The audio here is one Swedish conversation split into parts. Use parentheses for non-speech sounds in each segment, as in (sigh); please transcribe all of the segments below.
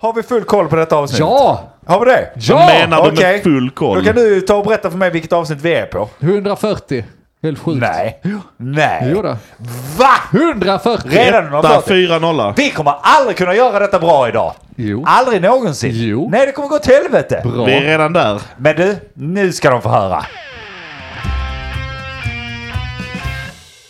Har vi full koll på detta avsnitt? Ja! Har vi det? Ja! Vad menar du Okej. med full koll? Då kan du ta och berätta för mig vilket avsnitt vi är på. 140. Helt sjukt. Nej. Jag Nej. gjorde det. Va? 140! Redan när de har Där, klart det. 4-0. Vi kommer aldrig kunna göra detta bra idag. Jo. Aldrig någonsin. Jo. Nej, det kommer gå till helvete. Bra. Vi är redan där. Men du, nu ska de få höra.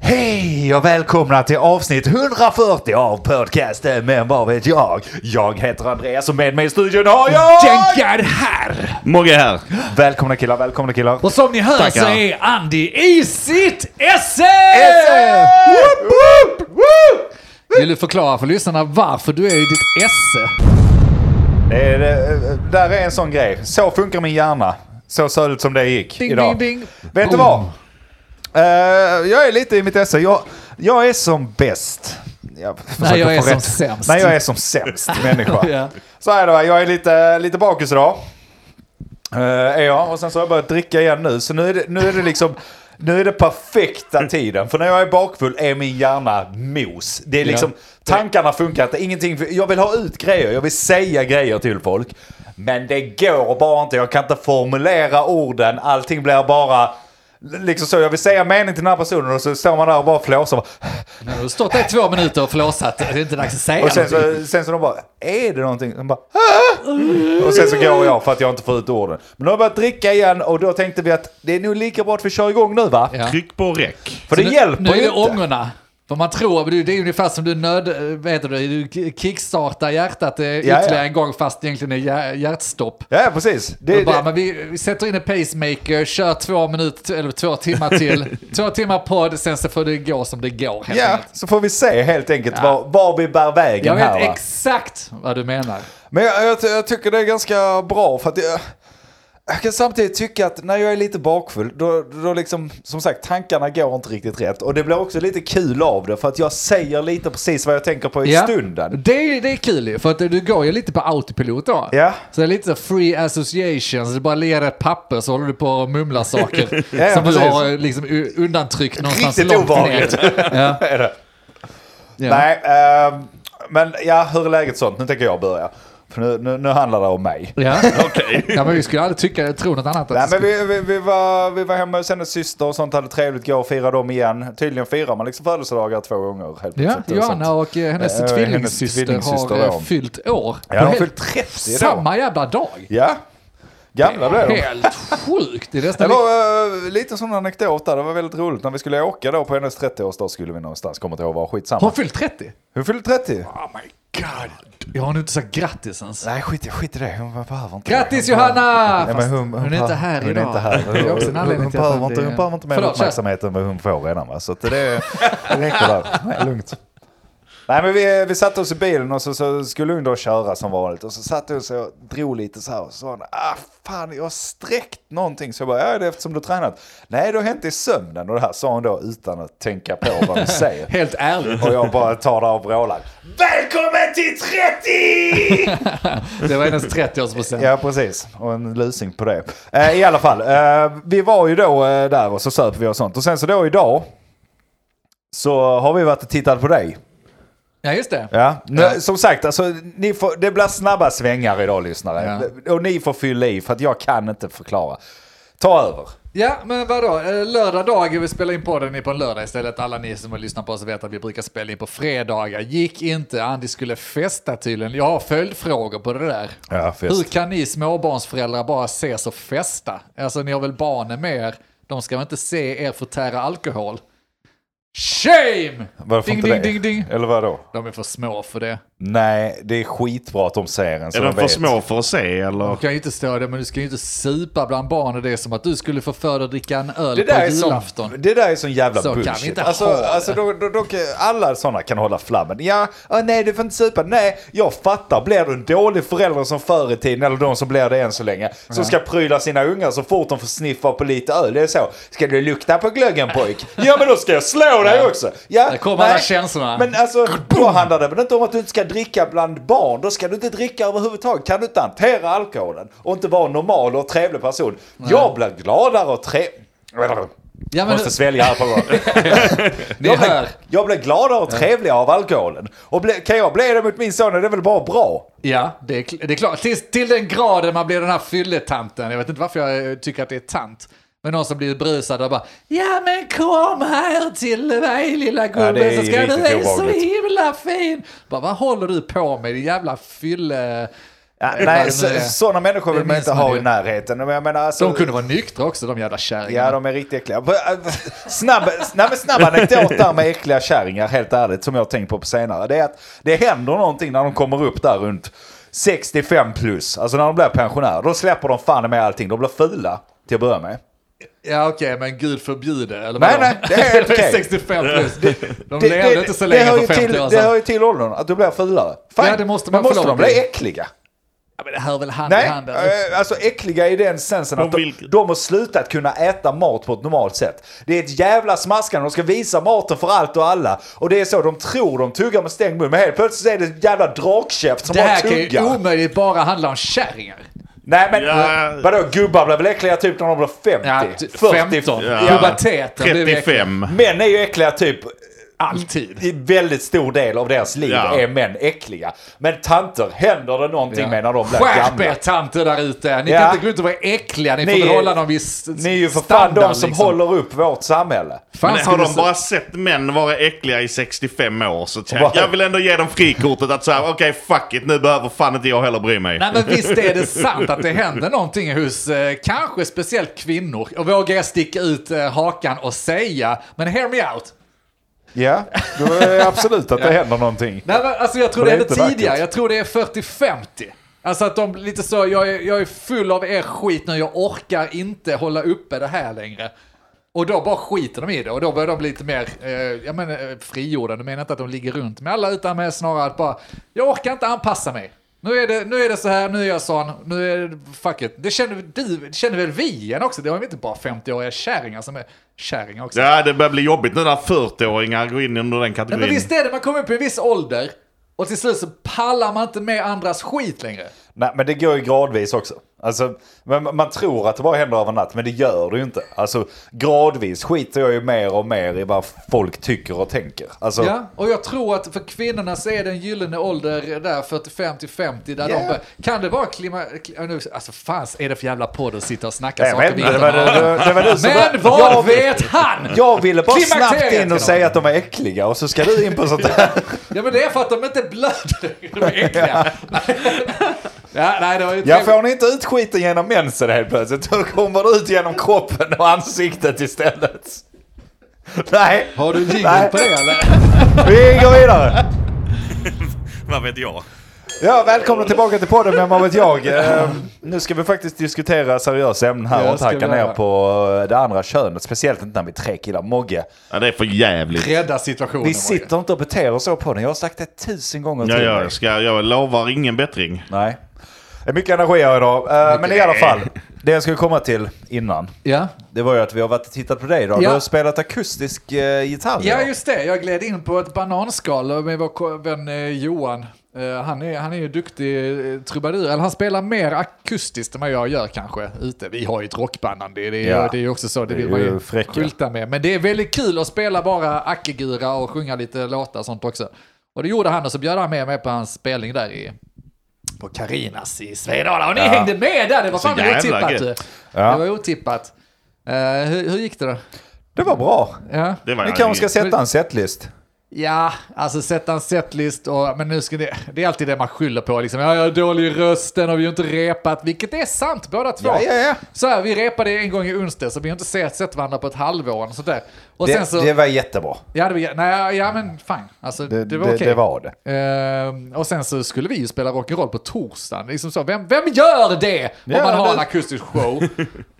Hej och välkomna till avsnitt 140 av podcasten Men vad vet jag? Jag heter Andreas och med mig i studion har jag... Jänkar här! Mogge här. Välkomna killar, välkomna killar. Och som ni hör Tackar. så är Andy i sitt esse! Woop, woop, woop! Vill du förklara för lyssnarna varför du är i ditt esse? Det är, det, Eh, där är en sån grej. Så funkar min hjärna. Så såg det ut som det gick Ding, idag. ding, ding. Vet du Boom. vad? Eh, jag är lite i mitt esse. Jag, jag är som bäst. Jag försöker jag är få som sämst. Nej, jag är som sämst människa. (laughs) Ja. Så är det va. Jag är lite, lite bakis idag. Eh, är jag. Och sen så har jag börjat dricka igen nu. Så nu är det, nu är det liksom... Nu är det perfekta tiden. För när jag är bakfull är min hjärna mos. Det är liksom... Tankarna funkar inte. Ingenting... Jag vill ha ut grejer. Jag vill säga grejer till folk. Men det går bara inte. Jag kan inte formulera orden. Allting blir bara... Liksom så, jag vill säga mening till den här personen och så står man där och bara flåsar. Nu har du stått där i två minuter och flåsat. Det är inte dags att säga Och sen någonting. så, sen så de bara, är det någonting? De bara, "Ah!" och sen så går jag för att jag inte får ut orden. Men nu har jag börjat dricka igen och då tänkte vi att det är nog lika bra att vi kör igång nu va? Ja. Tryck på räck. För Så det nu, hjälper Nu är ju det inte. ångorna. För man tror, men det är- det är ungefär som du nöd, vet du, du kickstartar hjärtat eh, ytterligare ja. en gång fast det egentligen är hjär- hjärtstopp. Ja, precis. Det, Det, bara, det, men vi, vi sätter in en pacemaker, kör två minuter, eller två timmar (laughs) till. två timmar podd, sen så får det gå som det går helt ja, enkelt. så får vi se helt enkelt var, var vi bär vägen Jag här vet va? exakt vad du menar. Men jag, jag, jag tycker det är ganska bra för att jag, jag kan samtidigt tycka att när jag är lite bakfull då, då liksom, som sagt, tankarna går inte riktigt rätt. Och det blir också lite kul av det för att jag säger lite precis vad jag tänker på i Ja. stunden. Det, är- det är kul ju, för att du går ju lite på autopilot då. Ja. Så det är lite så free association, så du bara ler ett papper så håller du på och mumlar saker (laughs) Ja, ja, som du precis. har liksom u- undantryckt någonstans Riktigt långt (laughs) obehagligt. ner. Ja, Är det? ja. Nej, ehm, men ja, hur är läget sånt? Nu tänker jag börja. För nu, nu, nu handlar det om mig. Ja. (laughs) ja, men vi skulle aldrig tycka, tro något annat. Nej, att det men vi, vi, vi, var, vi var hemma hos hennes syster och sånt, hade trevligt, gå och fira dem igen. Tydligen firar man liksom födelsedagar två gånger. Helt Ja, plötsligt och sånt. Johanna och eh, hennes Eh, hennes tvillingsyster tvillingsyster, har eh, ja. fyllt år. Ja, de har Helt- fyllt 30 då. Samma jävla dag. Ja, gamla blev de. Helt sjukt. Det (laughs) är Det nästan var eh, lite sån anekdot där, det var väldigt roligt. När vi skulle åka då på hennes 30-årsdag skulle vi någonstans, kommer inte ihåg var, Har skitsamma. hon fyllt 30? Hon fyllde 30. Oh my god. Jag har nog inte sagt grattis ens. Nej, skit, i- skit i det, hon behöver inte Grattis Hon behöver- Johanna! Nej, men Fast hon, hon, är inte här hon idag. Är inte här. Det är också en anledning hon, till att behöver det- inte, hon behöver inte mer Förlåt, kör. uppmärksamhet än vad hon får redan. Va? Så att det, det räcker där. Nej, lugnt. Nej, men vi, vi satte oss i bilen och så, så skulle hon då köra som vanligt. Och så satt hon sig och drog lite så här och så sa hon, ah fan jag har sträckt någonting. Så jag bara, ja det är eftersom du har tränat. Nej det har hänt i sömnen och det här sa hon då utan att tänka på vad hon säger. (laughs) Helt ärligt. Och jag bara tar där och vrålar. Välkommen till 30! Det var hennes 30-årspresent. Ja, precis. Och en lusing på det. Eh, I alla fall, eh, vi var ju då eh, där och så söp vi och sånt. Och sen så då idag så har vi varit och tittat på dig. Ja, just det. Ja. Nu, Ja. Som sagt, alltså, ni får, det blir snabba svängar idag lyssnare. Och ni får fylla i för att jag kan inte förklara. Ta över. Ja, men vadå? Eh, Lördag dag, vi spelar in podden på en lördag istället. Alla ni som har lyssnat på oss vet att vi brukar spela in på fredagar. Gick inte, Andy skulle festa tydligen. Jag har följdfrågor på det där. Ja, fest. Hur kan ni småbarnsföräldrar bara ses och festa? Alltså ni har väl barnen med er? De ska väl inte se er förtära alkohol? Shame! Varför ding, inte ding, det? ding, ding. Eller vadå? De är för små för det. Nej, det är skitbra att de ser en. så Är de för vet. små för att se eller? Du kan ju inte stå där, men du ska ju inte supa bland barnen. Det är som att du skulle få för dig att dricka en öl Det där, på är sån, julafton. det där är sån jävla Så kan vi bullshit. inte alltså, ha det. alltså, då, då, då, kan- alla sådana kan hålla flammen. Ja, ah, nej du får inte supa. Nej, jag fattar. Blir du en dålig förälder som förr i tiden, eller de som blir det än så länge, som ska pryla sina ungar så fort de får sniffa på lite öl. Det är så. Ska du lukta på glöggen pojk? Ja, men då ska jag slå på dig också. Ja, Där kommer alla känslorna. Men alltså, då handlar det väl inte om att du inte ska dricka bland barn. Då ska du inte dricka överhuvudtaget. Kan du inte hantera alkoholen och inte vara en normal och trevlig person. Jag blir gladare och trevlig. Ja, men Måste svälja här på (laughs) gång. ni Jag hör. blir, jag blir gladare och trevligare av alkoholen. Och ble, kan jag bli det mot min son är det väl bara bra? Ja, det är, kl- det är klart. Tills, till den graden man blir den här fylletanten. Jag vet inte varför jag eh, tycker att det är tant. Men någon som blir brusad och bara Ja men kom här till mig lilla Ja, gubben det är så ska du riktigt är så obehagligt. himla fin. Bara, vad håller du på med din jävla fylle... Ja, Vad det nej, nu så, är. sådana människor vill eh, Det man minns inte man ha ju. i närheten. Men jag menar, alltså, De kunde vara nyktra också de jävla kärringarna. Ja, de är riktigt äckliga. äh, Snabb, snabb, snabb anekdot där med äckliga kärringar, helt ärligt, som jag har tänkt på på senare. Det är att det händer någonting när de kommer upp där runt 65 plus. Alltså när de blir pensionärer. Då släpper de fan med allting. De blir fula till att börja med. Ja okej, men gud förbjude. Eller Nej, vadå? nej, det är (laughs) helt okej. 65 plus. De Det- levde det- inte så det länge hör ju för 50 till- år Det hör sedan. ju till åldern, att du blir fulare. Fine. Ja, det måste man Men måste få lov de bli till. äckliga? Ja, men det hör väl hand i Nej, hand. eller? eh, alltså äckliga i den sensen De att de, vill- de har slutat kunna äta mat på ett normalt sätt. Det är ett jävla smaskande, de ska visa maten för allt och alla. Och det är så, de tror de tuggar med stängd mun, men helt plötsligt är det en jävla drakkäft som Det bara här kan ju tuggar. omöjligt bara handla om kärringar. Nej men Ja. vadå, gubbar blir väl äckliga typ när de blir 50? Ja, ty- 15. Ja. Ja. Puberteten blev äcklig. 35. Män är ju äckliga typ, Alltid. i väldigt stor del av deras liv Ja. är män äckliga. Men tanter händer det någonting med när de blir Skärp gamla. er tanter där ute! Ni Ja. kan inte gå ut och vara äckliga, ni, Ni får väl är- hålla någon viss Ni är ju för fan standard, de som liksom. håller upp vårt samhälle. Fan, Men har skulle de se- bara sett män vara äckliga i 65 år så Bara- jag, jag vill ändå ge dem frikortet att säga okej fuck it nu behöver fan inte jag heller bry mig. Nej men visst är det sant att det händer någonting hos eh, kanske speciellt kvinnor. Och vågar jag sticka ut eh, hakan och säga, men hear me out. Ja, då är det absolut att det (laughs) händer någonting. Nej, men, alltså, jag tror Men det det är är det inte tidigare, vackert. jag tror det är 40-50. Alltså att de blir lite så, jag är, jag är full av er skit nu, jag orkar inte hålla uppe det här längre. Och då bara skiter de i det och då börjar de bli lite mer, eh, jag menar eh, frigjorda, du menar inte att de ligger runt med alla utan med snarare att bara, jag orkar inte anpassa mig. Nu är, det, nu är det så här, nu är jag sån, nu är det, fuck it. Det känner, du, det känner väl vi igen också? Det har ju inte bara 50-åriga kärringar som är kärringar också. Ja det börjar bli jobbigt nu när 40-åringar går in under den Nej, kategorin. men visst är det, man kommer upp i en viss ålder och till slut så pallar man inte med andras skit längre. Nej, men det går ju gradvis också. Alltså, men man tror att det bara händer över en natt, men det gör det ju inte. Alltså, gradvis skiter jag ju mer och mer i vad folk tycker och tänker. Alltså, Ja, och jag tror att för kvinnorna så är det en gyllene ålder där 45 till 50 där Ja. de bör, Kan det vara klima... kli- nu- Alltså fanns är det för jävla podd att sitta och snacka jag saker vet vi inte, det inte var, det, har? var- det var du som... Men vad jag, vet han? jag ville bara Klimakteriet snabbt kan in de och säga att de är äckliga och så ska du in på sånt (laughs) här. Ja men det är för att de inte blöder. De är äckliga. (laughs) ja, nej, det var ju Ja, trevligt. får ni inte ut skiten genom mensen helt plötsligt, då kommer det ut genom kroppen och ansiktet istället. Nej, Har du jingle Nej. på det eller? vi går vidare. Vad vet jag? Ja, välkomna tillbaka till podden med Vad vet jag. Eh, nu ska vi faktiskt diskutera seriösa ämnen här Ja, och inte ska hacka vi göra. ner på eh, det andra könet. Speciellt inte när vi är tre killar. Mogge, Ja det är för jävligt. Rädda situationen. vi Roger. sitter inte och beter oss så på den. Jag har sagt det tusen gånger Ja, till ja, dig. jag, ska, jag lovar ingen bättring. Nej. Det är mycket energi här idag. Eh, Men i alla fall, det jag skulle komma till innan. Ja. Det var ju att vi har varit och tittat på dig idag. Ja. Du har spelat akustisk eh, gitarr. Ja, idag. just det. Jag gled in på ett bananskal med vår ko- vän eh, Johan. Eh, Han är, han är ju duktig eh, trubadur, eller han spelar mer akustiskt än vad jag gör kanske ute. Vi har ju ett rockband, Andy. det är, Ja. det är ju också så, det Det är vill man ju ju fräcka. skylta med. Men det är väldigt kul att spela bara ackegura och sjunga lite låtar och sånt också. Och det gjorde han och så bjöd han med mig på hans spelning där i, på Carinas i Svedala. Och ni Ja. hängde med där, det var fan jävla otippat gött. du. Ja. Det var otippat. Eh, hur, hur gick det då? Det var bra. Ja. Det var Vi kanske ska sätta en setlist. Ja, alltså sätta en setlist och, men nu ska det, det är alltid det man skyller på liksom. Ja, jag har dålig i rösten och vi har inte repat, vilket är sant båda två. Ja, ja, ja. Så här, vi repade en gång i onsdag så vi har inte sett, sett varandra på ett halvår och sånt där. Och sen Det, så, det var jättebra. ja, det, var- nej, ja men fine, alltså det, var det, okej. det var det. Ehm, och sen så skulle vi ju spela rock'n'roll på torsdagen. Liksom så, vem, vem gör det? Om Ja, man har det- (laughs) en akustisk show.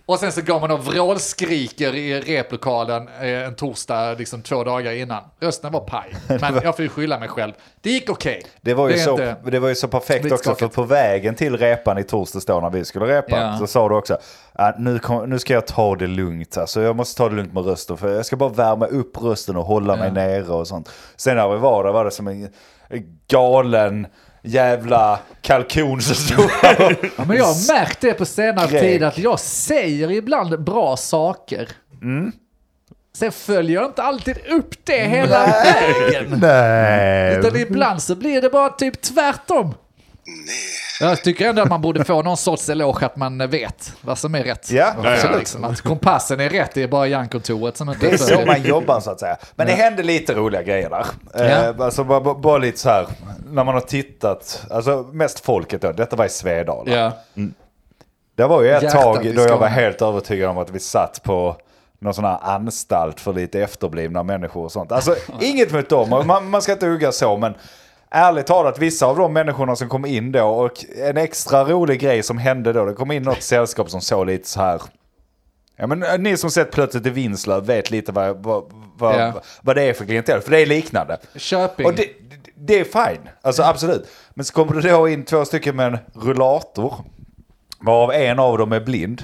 Och sen så går man och vrålskriker i replokalen eh, en torsdag, liksom två dagar innan. Rösten (laughs) var paj, men jag får ju skylla mig själv. Det gick okej. Det var, ju är så, inte- det var ju så perfekt lite också, för skakigt. på vägen till repan i torsdags då när vi skulle repa Ja. så sa du också att nu, kom, nu ska jag ta det lugnt, alltså jag måste ta det lugnt med rösten för jag ska bara värma upp rösten och hålla mig Ja. nere och sånt. Sen när vi var där var det som en galen jävla kalkon som (laughs) stod där. Ja, men jag har märkt det på senare Skrek. tid att jag säger ibland bra saker. Mm. Sen följer jag inte alltid upp det hela vägen. Nej. Utan ibland så blir det bara typ tvärtom. Jag tycker ändå att man borde få någon sorts eloge att man vet vad som är rätt. Ja, Och så absolut. Liksom att kompassen är rätt, det är bara hjärnkontoret som inte Det är så följer. man jobbar så att säga. Men det hände lite roliga grejer där. Eh, Ja. alltså bara, bara, bara lite så här, när man har tittat, alltså mest folket då, detta var i Svedala. Ja. Det var ju ett Hjärtat i tag då jag var Skåne. helt övertygad om att vi satt på någon sån här anstalt för lite efterblivna människor och sånt. Alltså inget mot dem, och man, man ska inte hugga så men ärligt talat vissa av de människorna som kom in då och en extra rolig grej som hände då, det kom in något sällskap som såg lite så här. Ja men eh, ni som sett plötsligt i Vinslöv vet lite vad, vad, vad, Ja. vad det är för klientell, för det är liknande. Köping. Mm. Och det, det- det är fine, alltså absolut. Men så kommer det då in två stycken med en rullator. Varav en av dem är blind.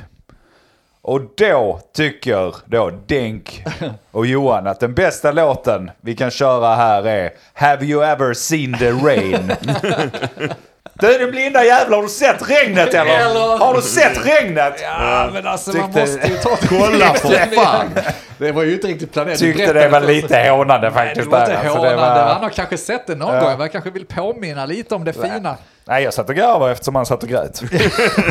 Och då tycker då (laughs) Denk och Johan att den bästa låten vi kan köra här är Have you ever seen the (laughs) rain? du den blinda jävla, har du sett regnet eller? Eller- Har du sett regnet? Mm. Ja, men alltså man Tyckte- måste ju ta Kolla på fan. Det var ju inte riktigt planerat. Du Tyckte berättade det var för oss- lite hånande Nej, det faktiskt. var där, inte alltså, hånande. var- Han har kanske sett det någon Ja. gång, men jag kanske vill påminna lite om det fina. Nej, jag satt och garvade eftersom han satt och grät. (laughs)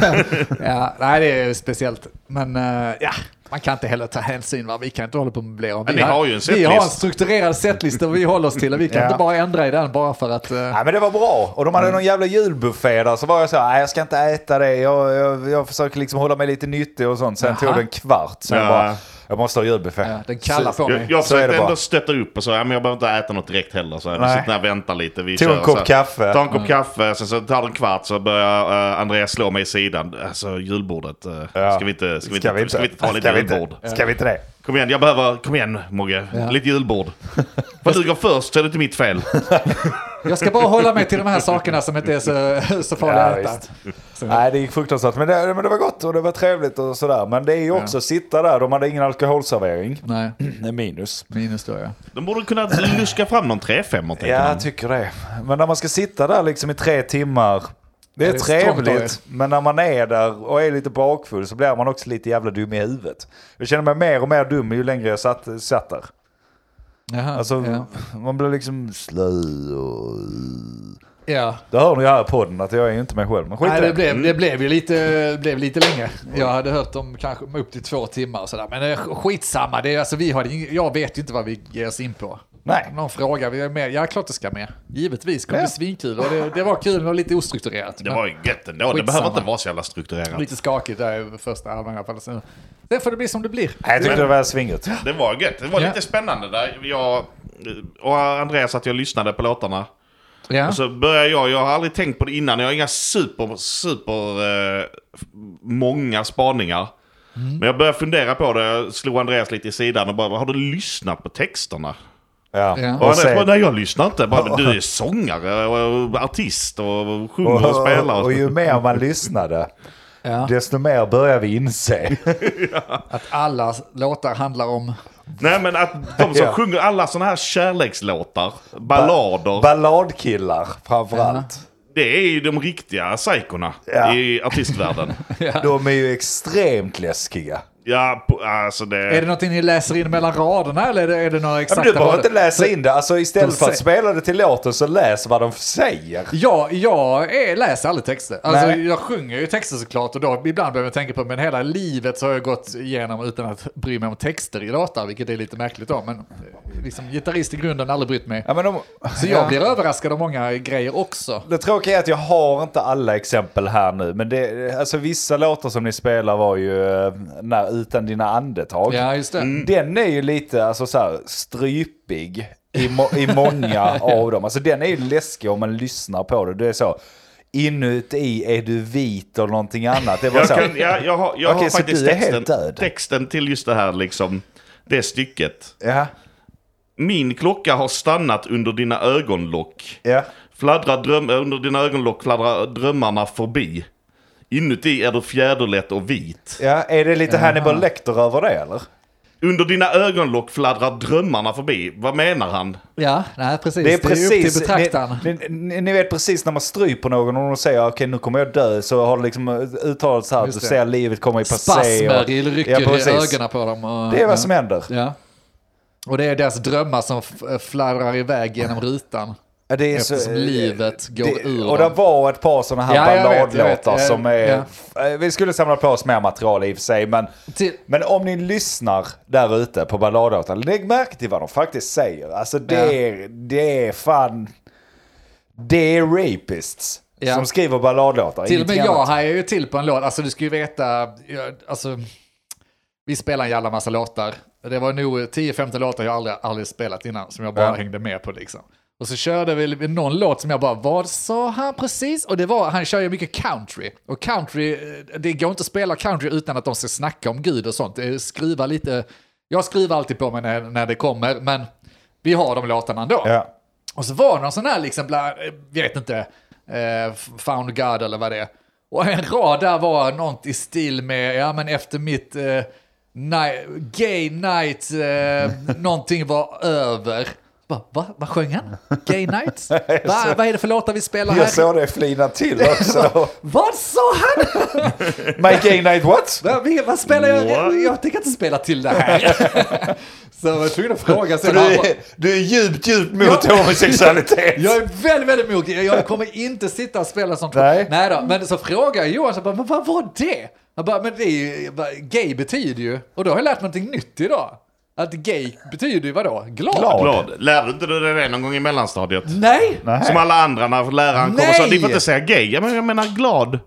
Ja, nej, det är speciellt. Men eh, ja, man kan inte heller ta hänsyn. Va? Vi kan inte hålla på och möblera. om. Men Vi ni har ju en Vi setlist. har en strukturerad setlista vi håller oss till och vi kan Ja. inte bara ändra i den bara för att... eh, Nej men det var bra. Och de Mm. hade någon jävla julbuffé där. Så var jag så här, nej jag ska inte äta det. Jag, jag, jag försöker liksom hålla mig lite nyttig och sånt. Sen Jaha. tog det en kvart. Sen Ja. bara, jag måste ha julbuffé. ja, den kallar på mig. Jag, jag Så är det försökte bara. ändå stötta upp och så, ja, men jag behöver inte äta något direkt heller. Så här. vi Nej. sitter här och väntar lite. Vi Tog en kör, kopp så här. kaffe. Mm. Tar en kopp kaffe, sen så tar det en kvart så börjar eh, Andreas slå mig i sidan. Alltså julbordet, eh, Ja. ska, vi inte, ska, vi inte, ska vi inte ta lite Ska vi inte? julbord? Ska vi inte det? Kom igen, jag behöver, kom igen Mogge, Ja. lite julbord. (laughs) För att du går först så är det inte mitt fel. Jag ska bara hålla mig till de här sakerna som inte är så, så farliga Ja, att äta. visst. Nej det gick fruktansvärt. Men det, men det var gott och det var trevligt och sådär. Men det är ju också sitta där. De hade ingen alkoholservering. Nej, Det är minus. minus då ja. De borde kunna luska fram någon 3-5 tänker Ja, man. jag tycker det. Men när man ska sitta där liksom i tre timmar. Det är, det är trevligt, strångt men när man är där och är lite bakfull så blir man också lite jävla dum i huvudet. Jag känner mig mer och mer dum ju längre jag satt, satt där. Jaha, Alltså, ja. man blir liksom slö och... ja. Det hör ni ju här på podden att jag är ju inte mig själv, men skit Nej, i det, det. Mm. blev, det blev ju lite, blev lite länge. Jag hade hört om kanske upp till två timmar och sådär. Men eh, skitsamma, det är, alltså, vi har, ing- jag vet ju inte vad vi ger oss in på. Nej. Någon fråga, vi är med. Ja, klart det ska med. Givetvis kommer Ja. det bli svinkul. Och det, det var kul, men det var lite ostrukturerat. Det Men var ju gött ändå, det behöver Skitsamma. inte vara så jävla strukturerat. Lite skakigt där i första halvan i alla fall. Sen- Sen får det bli som det blir. Nej, jag tyckte det var svinget. Det var gött, det var Ja. lite spännande där. Jag och Andreas att jag lyssnade på låtarna. Ja. Och Alltså, så började jag, jag har aldrig tänkt på det innan, jag har inga super, super eh, f- många spaningar. Mm. Men jag började fundera på det, jag slog Andreas lite i sidan och bara, har du lyssnat på texterna? Ja. Ja. Och Och Andreas bara, sen, nej jag lyssnar inte. Jag (laughs) Bara, du är sångare och artist och sjunger och spelar. och, och ju mer man lyssnade, Ja. desto mer börjar vi inse. Att alla låtar handlar om... Nej men att (laughs) de som Ja. sjunger alla sådana här kärlekslåtar, ballader, Balladkillar framförallt. det är ju de riktiga psykona Ja. i (laughs) artistvärlden. De är ju extremt läskiga. ja, på- alltså Är det... det någonting ni läser in mellan raderna eller är det, är det några Ja, men exakta du behöver rader? inte läsa in det. Alltså De istället för att säger- spela det till låten så läs vad de säger. Ja, jag är, läser aldrig texter. Alltså, Nej. jag sjunger ju texter såklart och då ibland behöver jag tänka på men hela livet så har jag gått igenom utan att bry mig om texter i låtar, vilket är lite märkligt då. Men eh, liksom, gitarrist i grunden, aldrig brytt mig. Ja, men de... Så jag Ja. blir överraskad av många grejer också. Det tråkiga är att jag har inte alla exempel här nu. Men det, alltså vissa låtar som ni spelar var ju eh, när, Utan dina andetag. Ja, just det. Den är ju lite alltså, så här, strypig i, må- i många av dem. Alltså den är ju läskig om man lyssnar på det. Det är så. inuti är du vit och någonting annat. Det var Jag, så. kan, jag, jag har, jag Okej, har så faktiskt du är helt texten, död? texten till just det här liksom, det stycket. Ja, Min klocka har stannat under dina ögonlock. ja. Fladdrar dröm, eh, under dina ögonlock fladdrar drömmarna förbi. Inuti är du fjäderlätt och vit. ja. Är det lite Hannibal Lecter över det eller? Under dina ögonlock fladdrar drömmarna förbi. Vad menar han? Ja, nej, precis. Det är precis, upp till betraktaren. Ni, ni, ni vet precis när man stryper någon och de säger okej nu kommer jag dö så har det liksom uttalats här att Just du det. ser livet komma i passé. Spasmer i- och- rycker i precis. ögonen på dem. Och, Det är ja. vad som händer. Ja. Och det är deras drömmar som f- fladdrar iväg genom rutan. Ja, det är Eftersom livet går ur Och det dem. var ett par sådana här Ja, jag vet, jag vet. balladlåtar Eh, som är... ja. f- eh, Vi skulle samla på oss mer material i och för sig, men... Till- Men om ni lyssnar där ute på balladlåtar, lägg märke till vad de faktiskt säger. Alltså det, Ja. är, det är fan... Det är rapists Ja. som skriver balladlåtar. Till och med ingenting jag annat. hajar ju till på en låt. Alltså du ska ju veta, jag, alltså, vi spelar en jävla massa låtar. Det var nog 10-15 låtar jag aldrig, aldrig spelat innan som jag bara Ja. hängde med på liksom. Och så körde vi någon låt som jag bara, vad sa han precis? Och det var, han kör ju mycket country. Och country, eh, det går inte att spela country utan att de ska snacka om Gud och sånt. Det är Skriva lite, jag skriver alltid på mig när, när det kommer, men vi har de låtarna ändå. Ja. Och så var det någon sån här, liksom, bland, eh, vet inte, eh, found God eller vad det är. Och en rad där var något i stil med, ja men efter mitt eh, ni- gay night, (laughs) eh, någonting var över. Va, va, vad sjöng han? (laughs) Gay night? Va, vad är det för låtar vi spelar Jag här? såg dig flina till också. Vad sa (laughs) han? My gay night what? Va, vi- vad spelar jag? What? Jag tänker inte spela till det (laughs) här. så jag var tvungen att fråga. För sen du han bara- är, du är djupt, djupt mot homosexualitet. Jag är väldigt, väldigt mjuk. Jag kommer inte sitta och spela sånt. Nej. Nej då. Men så frågar jag Johan, så bara, men vad var det? Jag bara, men det är ju, jag bara, gay betyder ju, och då har jag lärt mig någonting nytt idag. Att gay betyder ju vadå? Glad? Glad. Glad. Lärde inte du dig det någon gång i mellanstadiet? Nej, Nej. Som alla andra när läraren kommer och säger Nej! ni får inte säga gay. Ja, men jag menar glad.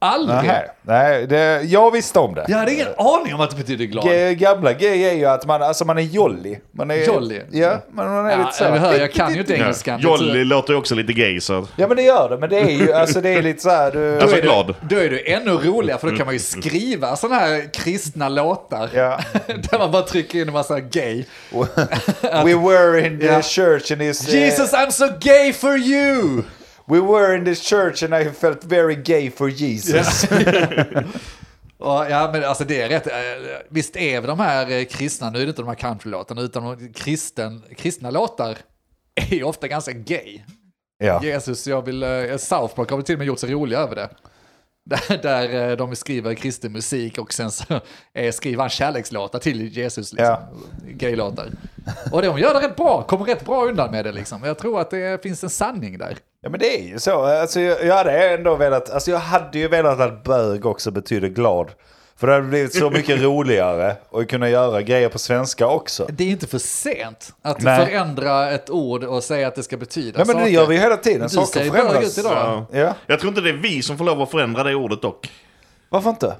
aldrig. Nej, nej det, jag visste om det. Jag hade ingen aning om att det betyder glad. G- Gamla G är ju att man, alltså man är jolly. Man är, Jolly? Ja, men man är Ja, lite så. jag hör, jag kan ju inte engelskan. Det är tur. Jolly låter ju också lite gay så. Ja men det gör det, men det är ju alltså det är lite så här, du... Alltså Då är du- glad. Mm. Då är du ännu roligare för då kan man ju skriva sådana här kristna låtar. Ja. (laughs) Där man bara trycker in en massa gay. We were in the Ja. church and this... eh, Jesus I'm so gay for you! We were in the church and I felt very gay for Jesus. Och, ja, men alltså det är rätt. eh, Visst är väl de här eh, kristna, nu är det inte de här countrylåtarna, utan de kristen, kristna låtar är ju ofta ganska gay. (laughs) Ja. Jesus, jag vill, eh, South Park har väl till och med gjort sig roliga över det. Där, där eh, de skriver kristen musik och sen så eh, skriver han kärlekslåtar till Jesus. Liksom. Gaylåtar. Och de gör det rätt bra, kommer rätt bra undan med det liksom. Jag tror att det finns en sanning där. ja men det är ju så. Alltså, jag, jag hade ändå velat, alltså jag hade ju velat att bög också betyder glad. För det hade blivit så (laughs) mycket roligare att kunna göra grejer på svenska också. Det är inte för sent att Nej. förändra ett ord och säga att det ska betyda Nej men det saker. gör vi ju hela tiden, Du saker ser bög förändras. ut idag. Ja. Ja, Jag tror inte det är vi som får lov att förändra det ordet dock. varför inte?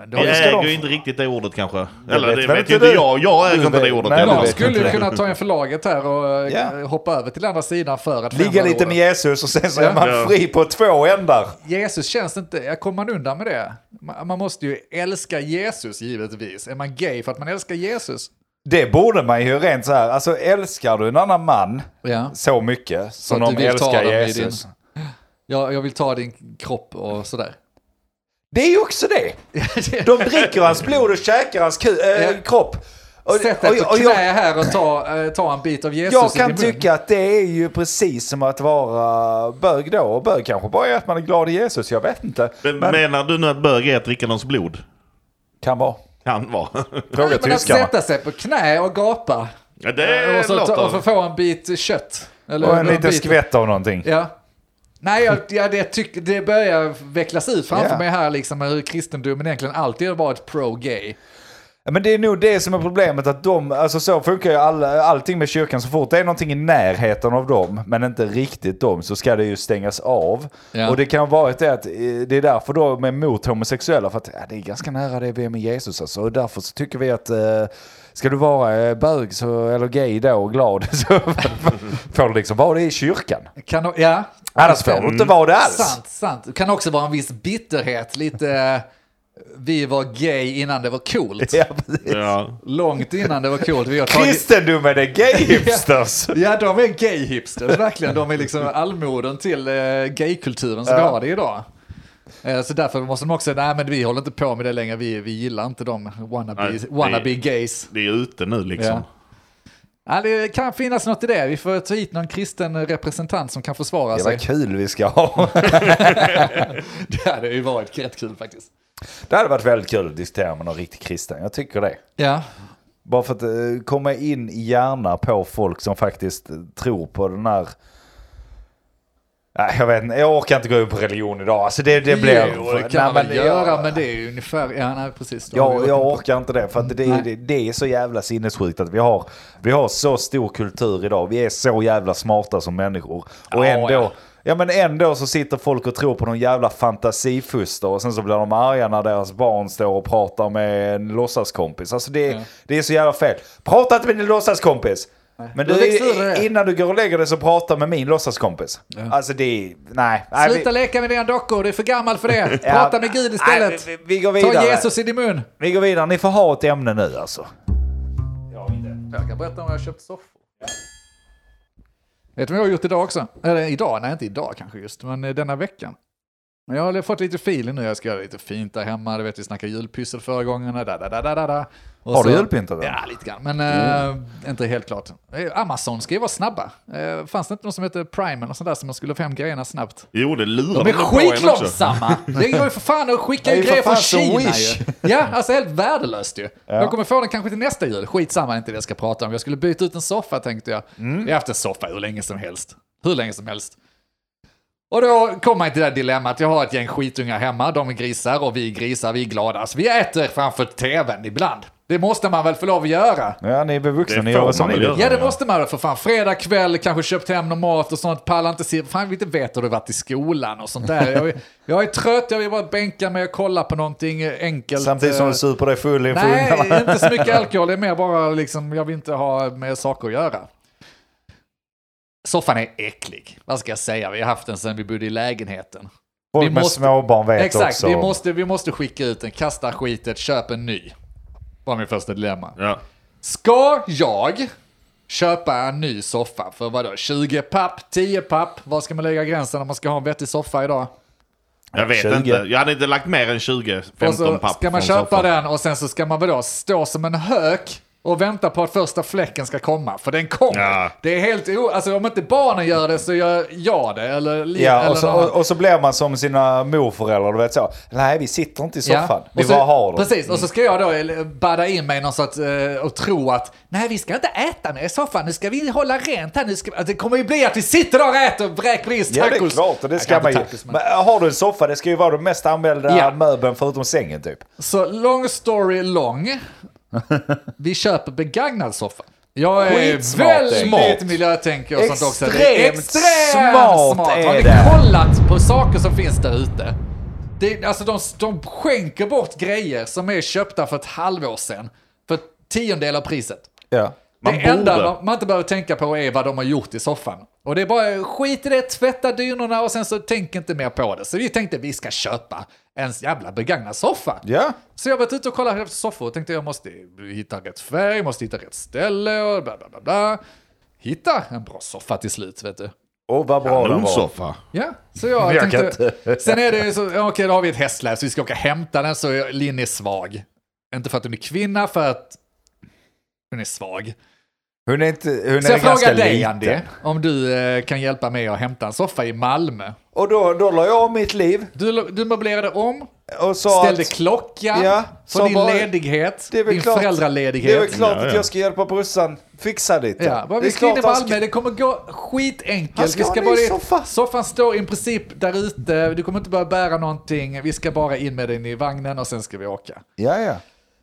Men då, Vi Ja, det ska äger de ju få. inte riktigt det ordet kanske. Eller det väl vet inte ju inte du. jag. Jag äger Du inte det vet- ordet. nej, heller. jag de vet skulle inte ju det. kunna ta en förlaget här och Ja. eh, hoppa över till andra sidan för att Ligga förändra lite med ordet. Jesus och sen så är man Ja. fri på två ändar. Jesus känns inte, jag kommer man undan med det? Man, man måste ju älska Jesus givetvis. Är man gay för att man älskar Jesus? Det borde man ju rent så här, alltså älskar du en annan man Ja. så mycket som att du de vill ta älskar dem i Jesus. din- Jag, jag vill ta din kropp och sådär. Det är ju också (laughs) det. De dricker hans blod och käkar hans ku- äh, Ja. kropp. Och, Sätt och- dig på och knä jag, här och ta, eh, ta en bit av Jesus jag i kan din mun. tycka att det är ju precis som att vara bög då. Och bög kanske bara är att man är glad i Jesus, jag vet inte. Men, Men, menar du nu att bög är att dricka någons blod? kan vara. Kan vara. Fråga Men att tyskarna. sätta sig på knä och gapa. (laughs) Ja, det och, så ta, och låter... få- få en bit kött. Eller Och en liten bit- skvätt av någonting. Ja. Nej, jag, jag, det, tyck, det börjar vecklas ut framför Ja. mig här liksom hur kristendomen egentligen alltid har varit pro-gay. Ja, Men det är nog det som är problemet att de, alltså så funkar ju all, allting med kyrkan. Så fort det är någonting i närheten av dem, men inte riktigt dem, så ska det ju stängas av. Ja. Och det kan vara det att eh, det är därför de är emot homosexuella, för att ja, det är ganska nära det vi är med Jesus alltså. Och därför så tycker vi att eh, ska du vara eh, bög (laughs) så, eller gay då och glad så får du liksom vara det i kyrkan. Kan, de- ja, Annars får du inte vara det alls. Sant, sant. Det kan också vara en viss bitterhet, lite eh, vi var gay innan det var coolt. Ja, precis. Ja. Långt innan det var coolt. Vi har tagit... Kristendomen är gay hipsters. Ja, de är gay-hipsters, verkligen. De är liksom allmoden till eh, gaykulturen som vi har det idag. Eh, så därför måste de också, nej men vi håller inte på med det längre, vi, vi gillar inte de wannabe, Nej, det- wannabe gays. Det är ute nu liksom. Ja. Ja, det kan finnas något i det, vi får ta hit någon kristen representant som kan försvara Det (laughs) sig. var kul vi ska ha. Det hade ju varit rätt kul faktiskt. Det hade varit väldigt kul att diskutera med någon riktig kristen. Jag tycker det. Ja, Bara för att eh, komma in i hjärnan på folk som faktiskt eh, tror på den här... Nej, jag vet inte, jag orkar inte gå in på religion idag. Alltså det, det blir... Jo, det kan Nej, man väl jag- göra, men det är ju ungefär, ja nej precis. Då har vi Jag, jag varit inne på- orkar inte det, för att det, är- Nej. det, det är så jävla sinnessjukt att vi har, vi har så stor kultur idag. Vi är så jävla smarta som människor. Och Ja, ändå, ja. ja. men ändå så sitter folk och tror på någon jävla fantasifuster och sen så blir de arga när deras barn står och pratar med en låtsaskompis. Alltså det, Ja. det är så jävla fel. Prata inte med din låtsaskompis! Men du, Då växer det. innan du går och lägger dig så prata med min låtsaskompis. Alltså det är... Nej. nej, vi- Sluta leka med dina dockor, du är för gammal för det. Ja. Prata med Gud istället. Nej, vi, vi går vidare. Ta Jesus i din mun. Vi går vidare. Ni får ha ett ämne nu alltså. Jag kan berätta om jag har köpt soffor. Vet du vad jag har gjort idag också? Eller idag? Nej, inte idag kanske just, men eh, denna veckan. Men Jag har fått lite feeling nu, jag ska göra lite fint där hemma, du vet vi snackade julpyssel förra gången. Da, da, da, da, da, da. Och Har du så- julpyntat den? Ja, lite grann, men eh, inte helt klart. Eh, Amazon ska ju vara snabba. Eh, fanns det inte någon som hette Prime eller något sånt där som man skulle få hem grejerna snabbt? Jo, det lurar De är på en också. skitlångsamma! Det går ju för fan att skicka Det är ju ju grejer för från fan som Kina Wish. ju. Ja, alltså helt värdelöst ju. Jag kommer få den kanske till nästa jul. Skitsamma, det är inte det jag ska prata om. Jag skulle byta ut en soffa tänkte jag. Mm. Jag har haft en soffa hur länge som helst. Hur länge som helst. Och då kommer jag till det här dilemmat. Jag har ett gäng skitungar hemma. De är grisar och vi är grisar. Vi är glada. Så vi äter framför tvn ibland. Det måste man väl få lov att göra? Ja, ni är bevuxna. Det Ni får gör vad som man ni väl vill. göra. Ja, det Ja. måste man väl för fan. Fredag kväll, kanske köpt hem någon mat och sånt. Pallar inte se, fan vi inte vet hur det varit i skolan och sånt där. Jag, är- jag är trött, jag vill bara bänka mig och kolla på någonting eh, enkelt. Samtidigt som Eh, du super dig full inför Nej, ungarna. inte (laughs) så mycket alkohol. Det är mer bara liksom, jag vill inte ha med saker att göra. Soffan är äcklig. Vad ska jag säga? Vi har haft den sedan vi bodde i lägenheten. Folk vi med måste- småbarn vet Exakt, också. vi måste, vi måste skicka ut den, kasta skitet, köp en ny. Var min första dilemma. Ja. Ska jag köpa en ny soffa för vadå? 20 papp, 10 papp? Var ska man lägga gränsen om man ska ha en vettig soffa idag? Jag vet 20. inte. Jag hade inte lagt mer än 20-15 Och så papp. ska man från köpa soffan. den och sen så ska man vadå stå som en hök och vänta på att första fläcken ska komma. För den kommer. Ja. Det är helt o... Alltså om inte barnen gör det så gör jag det. Eller, li- Ja, eller och så, någon- och, och så blir man som sina morföräldrar, du vet så. Nej, vi sitter inte i soffan. Ja. Vi Och så, bara har den. Precis, och så ska jag då eh, badda in mig i någon sorts, eh, och tro att nej vi ska inte äta mer i soffan, nu ska vi hålla rent här, nu ska, vi-" alltså, det kommer ju bli att vi sitter där och äter och vräker i oss Ja, det är tacos. klart. Och det Jag ska kan man inte ju. tacos, men- Men har du en soffa, det ska ju vara den mest använda Ja. möbeln förutom sängen typ. Så long (laughs) story long, vi köper begagnad soffa. Jag är Skitsmart, Erik. väldigt miljötänkare och sånt också. Det är Extremt smart är Har ni det. kollat på saker som finns där ute? Det, är- alltså de, de skänker bort grejer som är köpta för ett halvår sedan för tiondel av priset. Ja. Man det borde. enda man, man inte behöver tänka på är vad de har gjort i soffan. Och det är bara skit i det, tvätta dynorna och sen så tänk inte mer på det. Så vi tänkte vi ska köpa en jävla begagnad soffa. Ja. Så jag har varit ute och kollat efter soffor och tänkte jag måste hitta rätt färg, måste hitta rätt ställe och bla bla bla. bla. Hitta en bra soffa till slut vet du. Och vad bra den var. Kanonsoffa. Ja, så (laughs) jag, Jag kan tänkte... Sen är det ju så, ja, okej då har vi ett hästsläp så vi ska åka och hämta den så jag- Linn är svag. Inte för att hon är kvinna, för att hon är svag. Hon är, inte, hon Så är jag ganska frågar dig liten. Andy, om du eh, kan hjälpa mig att hämta en soffa i Malmö. Och då, då la jag om mitt liv Du, du möblerade om, och sa ställde att... klockan Ja, för så din bara- ledighet, Det är väl din klart- Det är väl föräldraledighet. klart Ja, att ja. jag ska hjälpa brorsan fixa lite. Ja, bara Det är vi ska in i klart han ska- Malmö, det kommer gå skitenkelt. Han ska vi ha ska en ny bara, soffa. Soffan står i princip där ute, du kommer inte behöva bära någonting, vi ska bara in med den i vagnen och sen ska vi åka. Ja, ja.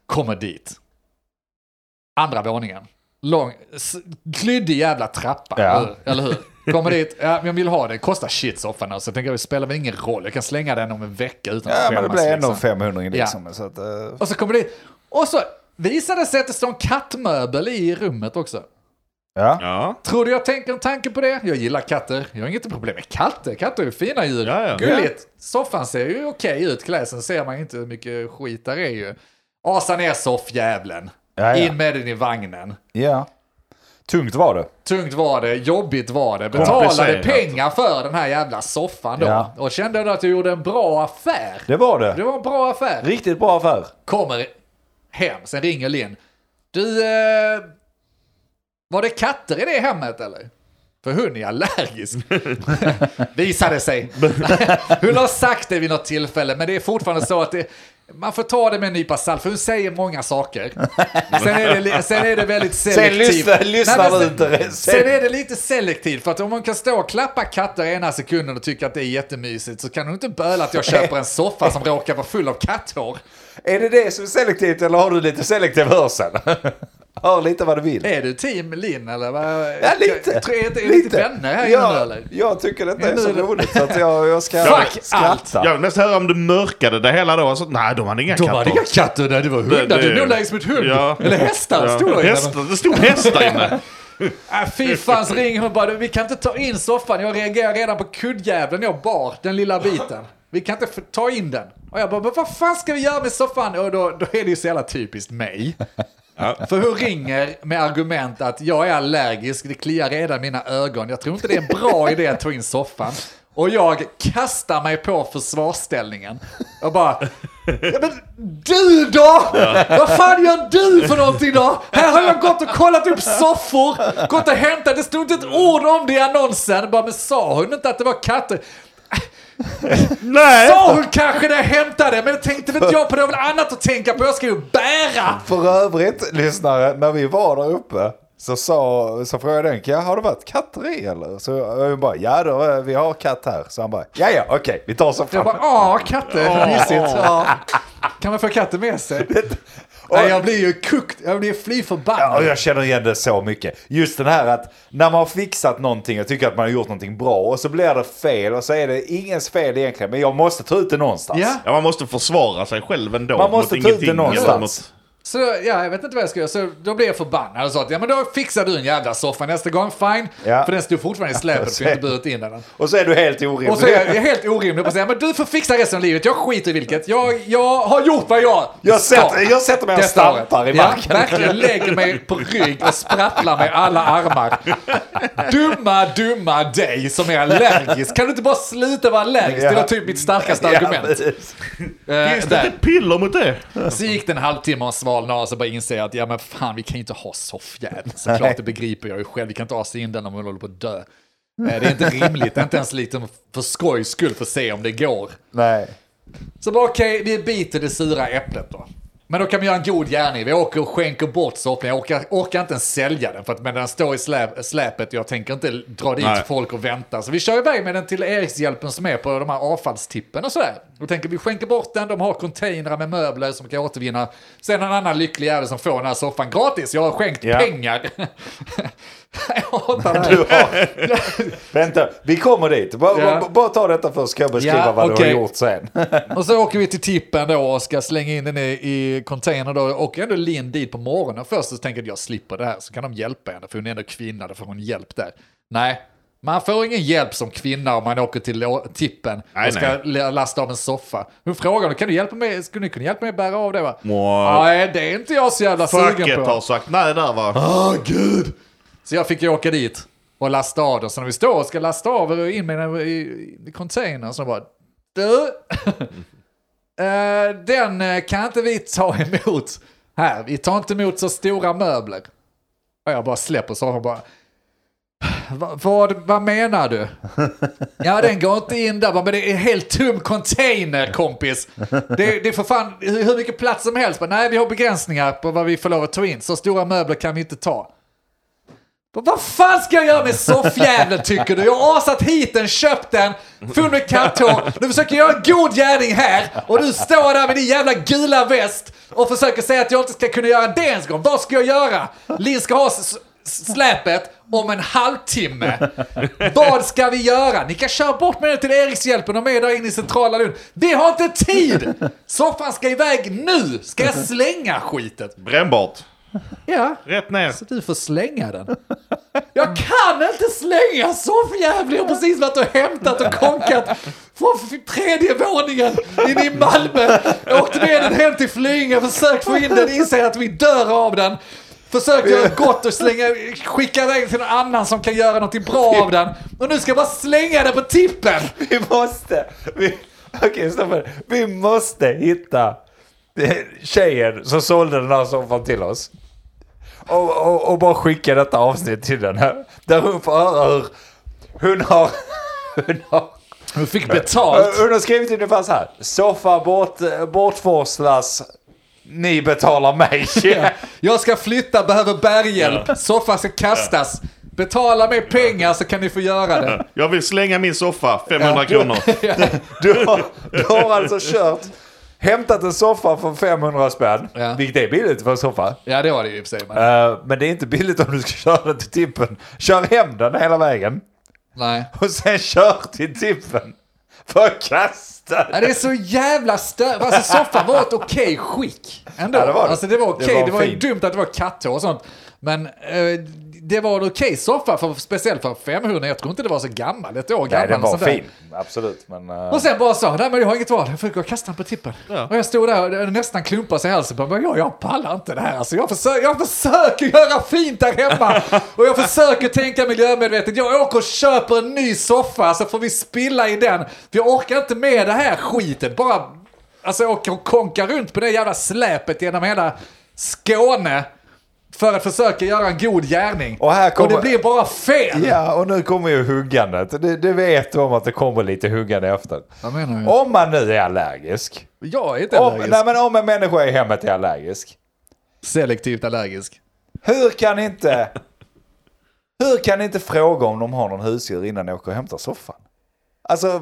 Kommer dit. Andra våningen. Lång, s- klyddig jävla trappa, Ja. eller- eller hur? Kommer dit, ja, men jag vill ha det, kostar shit soffan alltså. Jag tänker det spelar väl ingen roll, jag kan slänga den om en vecka utan Ja, att men det skämmas. blir ändå liksom. 500 liksom. Så att, eh, Och så kommer det Och så visade det sig att det stod en kattmöbel i rummet också. Ja. Ja. Tror du jag tänker en tanke på det? Jag gillar katter. Jag har inget problem med katter. Katter är fina djur. Ja, ja. Gulligt. Soffan ser ju okej ut. Kläsen ser man inte hur mycket skit där är ju. Asa ner soffjävlen. Ja, ja. In med den i vagnen. ja. Tungt var det. Tungt var det, jobbigt var det. Betalade Komplicerat. pengar för den här jävla soffan då. alltså. Ja. Och kände ändå att jag gjorde en bra affär. Det var det. Det var en bra affär. Riktigt bra affär. Kommer hem, sen ringer Linn. Du, eh, var det katter i det hemmet eller? För hon är (laughs) allergisk. Visade sig. (laughs) hon har sagt det vid något tillfälle, men det är fortfarande så att det, man får ta det med en nypa salt, för hon säger många saker. Sen är det, li- sen är det väldigt selektivt. lyssnar- Nej, lyssnar men man sen- inte det. Sen är det lite selektivt, för att om hon kan stå och klappa katter ena sekunden och tycka att det är jättemysigt, så kan hon inte böla att jag köper en soffa som råkar vara full av katthår. Är det det som är selektivt eller har du lite selektiv hörsel? (laughs) Hör lite vad du vill. Är du team Linn eller? Vad? Ja, lite. Eh, Jag tror- Är det lite vänner här inne nu ja, eller? Jag tycker detta är nu så är det- roligt så att jag, jag ska Fuck skratta. Jag vill nästan höra om du mörkade det hela då. Alltså, nej, de hade inga De katter. hade inga katter där, det var hundar. Det- det- Du är nog längst med hund. Ja. Eller hästar, Ja. stod det innan. Hästar, det stod hästar inne. Äh, fy fan, så ringer hon bara, "Du, vi kan inte ta in soffan, jag reagerar redan på kuddjäveln jag bar, den lilla biten. Vi kan inte f- ta in den. Och jag bara, "Men vad fan ska vi göra med soffan? Och då, då är det ju så jävla typiskt mig. För hon ringer med argument att jag är allergisk, det kliar redan i mina ögon, jag tror inte det är en bra idé att ta in soffan. Och jag kastar mig på försvarsställningen. Jag bara, Ja, men du då? Vad fan gör du för någonting då? Här har jag gått och kollat upp soffor, gått och hämtat, det stod inte ett ord om det i annonsen. Bara, men sa hon inte att det var katter? nej! Sa hon kanske när jag hämtade, men det tänkte väl inte jag på, det var väl annat att tänka på, jag ska ju bära! För övrigt, lyssnare, när vi var där uppe så, sa, så frågade jag Denke, ja, har det varit katter i eller? Så jag bara, ja då, vi har katt här. Så han bara, ja ja okej, vi tar så Jag fram. bara, ah katter, mysigt. Ja. Kan man få katter med sig? Nej, jag blir ju kukt, jag blir fly Ja, och förbannad. jag känner igen det så mycket. Just den här att när man har fixat någonting, jag tycker att man har gjort någonting bra och så blir det fel och så är det ingens fel egentligen, men jag måste ta ut det någonstans. Ja. Ja, man måste försvara sig själv ändå. Man måste mot ta ut ingenting det eller någonstans. mot- Så ja, jag vet inte vad jag ska göra, så då blev jag förbannad och sa att ja men då fixar du en jävla soffa nästa gång, fine. Ja. För den stod fortfarande i släpet för jag (laughs) har inte burit in den. Och så är du helt orimlig. Och så är jag jag är helt orimlig på att säga, men du får fixa resten av livet, jag skiter i vilket. Jag, jag har gjort vad jag Jag ska. sätter- jag sätter mig och Detta året. stampar i marken. Ja, verkligen lägger mig på rygg och sprattlar med alla (laughs) armar. Dumma, dumma dig som är allergisk. Kan du inte bara sluta vara allergisk? Det var typ (laughs) mitt starkaste argument. precis. Eh, Finns det där. inte ett piller mot det? Så gick det en halvtimme och svalnade och så bara inser jag att ja men fan vi kan ju inte ha soffjäveln. Såklart det begriper jag ju själv. Vi kan inte asa in den om hon håller på att dö. Eh, Det är inte rimligt, Det är inte ens liksom för skojs skull för att se om det går. Nej. Så bara okej, vi biter det sura äpplet då. Men då kan vi göra en god gärning. Vi åker och skänker bort soffan. Jag orkar, orkar inte ens sälja den för att men den står i släp, släpet. Jag tänker inte dra dit Nej. folk och vänta. Så vi kör iväg med den till Erikshjälpen som är på de här avfallstippen och sådär. Då tänker vi skänker bort den. De har containrar med möbler som kan återvinna. Sen en annan lycklig jävel som får den här soffan gratis. Jag har skänkt Ja. pengar. (laughs) jag hatar det här. Du har... (laughs) Vänta, vi kommer dit. Bara, Ja. bara, bara ta detta först, ska jag beskriva Ja, vad okej. du har gjort sen. Och så åker vi till tippen då och ska slänga in den i, i containern då. Och ändå Linn dit på morgonen först och tänker att jag slipper det här så kan de hjälpa henne för hon är ändå kvinna, då får hon hjälp där. Nej, man får ingen hjälp som kvinna om man åker till lo- tippen Nej, och ska nej. la- lasta av en soffa. Hon frågar kan du hjälpa mig, skulle ni kunna hjälpa mig att bära av det va? Wow. Nej, det är inte jag så jävla sugen Facket på. har sagt nej där va? Åh gud! Så jag fick ju åka dit och lasta av den. Så när vi står och ska lasta av och in med den i i containern så bara Du! (laughs) eh, den eh, kan inte vi ta emot här. Vi tar inte emot så stora möbler. Och jag bara släpper så och bara "Va- vad, vad menar du? Ja, den går inte in där. Men det är en helt tom container, kompis. Det, det är för fan hur hur mycket plats som helst. Men nej, vi har begränsningar på vad vi får lov att ta in. Så stora möbler kan vi inte ta. Men Vad fan ska jag göra med soffjäveln tycker du? Jag har asat hit den, köpt den, full med katthår. Du försöker göra en god gärning här och du står där med din jävla gula väst och försöker säga att jag inte ska kunna göra det ens en gång. Vad ska jag göra? Linn ska ha s- s- släpet om en halvtimme. Vad ska vi göra? Ni kan köra bort med den till Erikshjälpen och med där inne i centrala Lund. Vi har inte tid! Soffan ska iväg nu! Ska jag slänga skitet? Brännbart. Ja, Rätt ner. så du får slänga den. Jag kan inte slänga soffjävlig! Jag har precis varit och hämtat och konkat från f- tredje våningen inne i Malmö. Jag åkte med den hem till Flyinge, försökt få in den, inser att vi dör av den. Försökte göra gott och slänga, skicka iväg till någon annan som kan göra någonting bra av den. Och nu ska jag bara slänga den på tippen! (laughs) Vi måste... Vi, okej, Staffan. Vi måste hitta eh, tjejen som sålde den här soffan till oss. Och, och, och bara skicka detta avsnitt till den här. Där hon får höra hur hon har... Hon har Du fick betalt. Hon har skrivit ungefär så här. Soffa bort, eh, bortforslas. Ni betalar (laughs) mig. Jag ska flytta, behöver bärhjälp. Soffan ska kastas. Betala mig pengar så kan ni få göra det. Jag vill slänga min soffa, 500 kronor. Du har, du har alltså kört, hämtat en soffa för 500 spänn. Ja. Vilket är billigt för en soffa. Ja, det var det ju i och för sig. Men... Eh, men det är inte billigt om du ska köra den till tippen. Kör hem den hela vägen Nej. och sen kör till tippen. För att kasta den. Ja, det är så jävla stört. Alltså soffan var ett okej skick. Ändå. Ja, det var det. Alltså det var okej. Det var Det var, ju fint. dumt att det var katthår och sånt. Men eh, det var en okej soffa, för, speciellt för 500. Jag tror inte det var så gammal. Ett år gammal. Nej, den var och sånt där. fin. Absolut, men... eh, Och sen bara sa nej men jag har inget val, jag får gå och kasta den på tippen. Och jag stod där och nästan klumpade sig i halsen. Jag, jag, jag pallar inte det här. Alltså, jag, försöker, jag försöker göra fint där (laughs) hemma. och jag försöker tänka miljömedvetet. Jag åker och köper en ny soffa så får vi spilla i den. För jag orkar inte med det här skiten. Bara alltså, jag åker och konkar runt på det jävla släpet genom hela Skåne. För att försöka göra en god gärning. Och här kommer- det blir bara fel. Ja, och nu kommer ju huggandet. Det, det vet du om att det kommer lite huggande efter. Vad menar du? Om man nu är allergisk. Jag är inte Om, allergisk. nej, men om en människa i hemmet är allergisk. Selektivt allergisk. Hur kan inte... Hur kan inte fråga om de har någon husdjur innan ni åker och hämtar soffan? Alltså...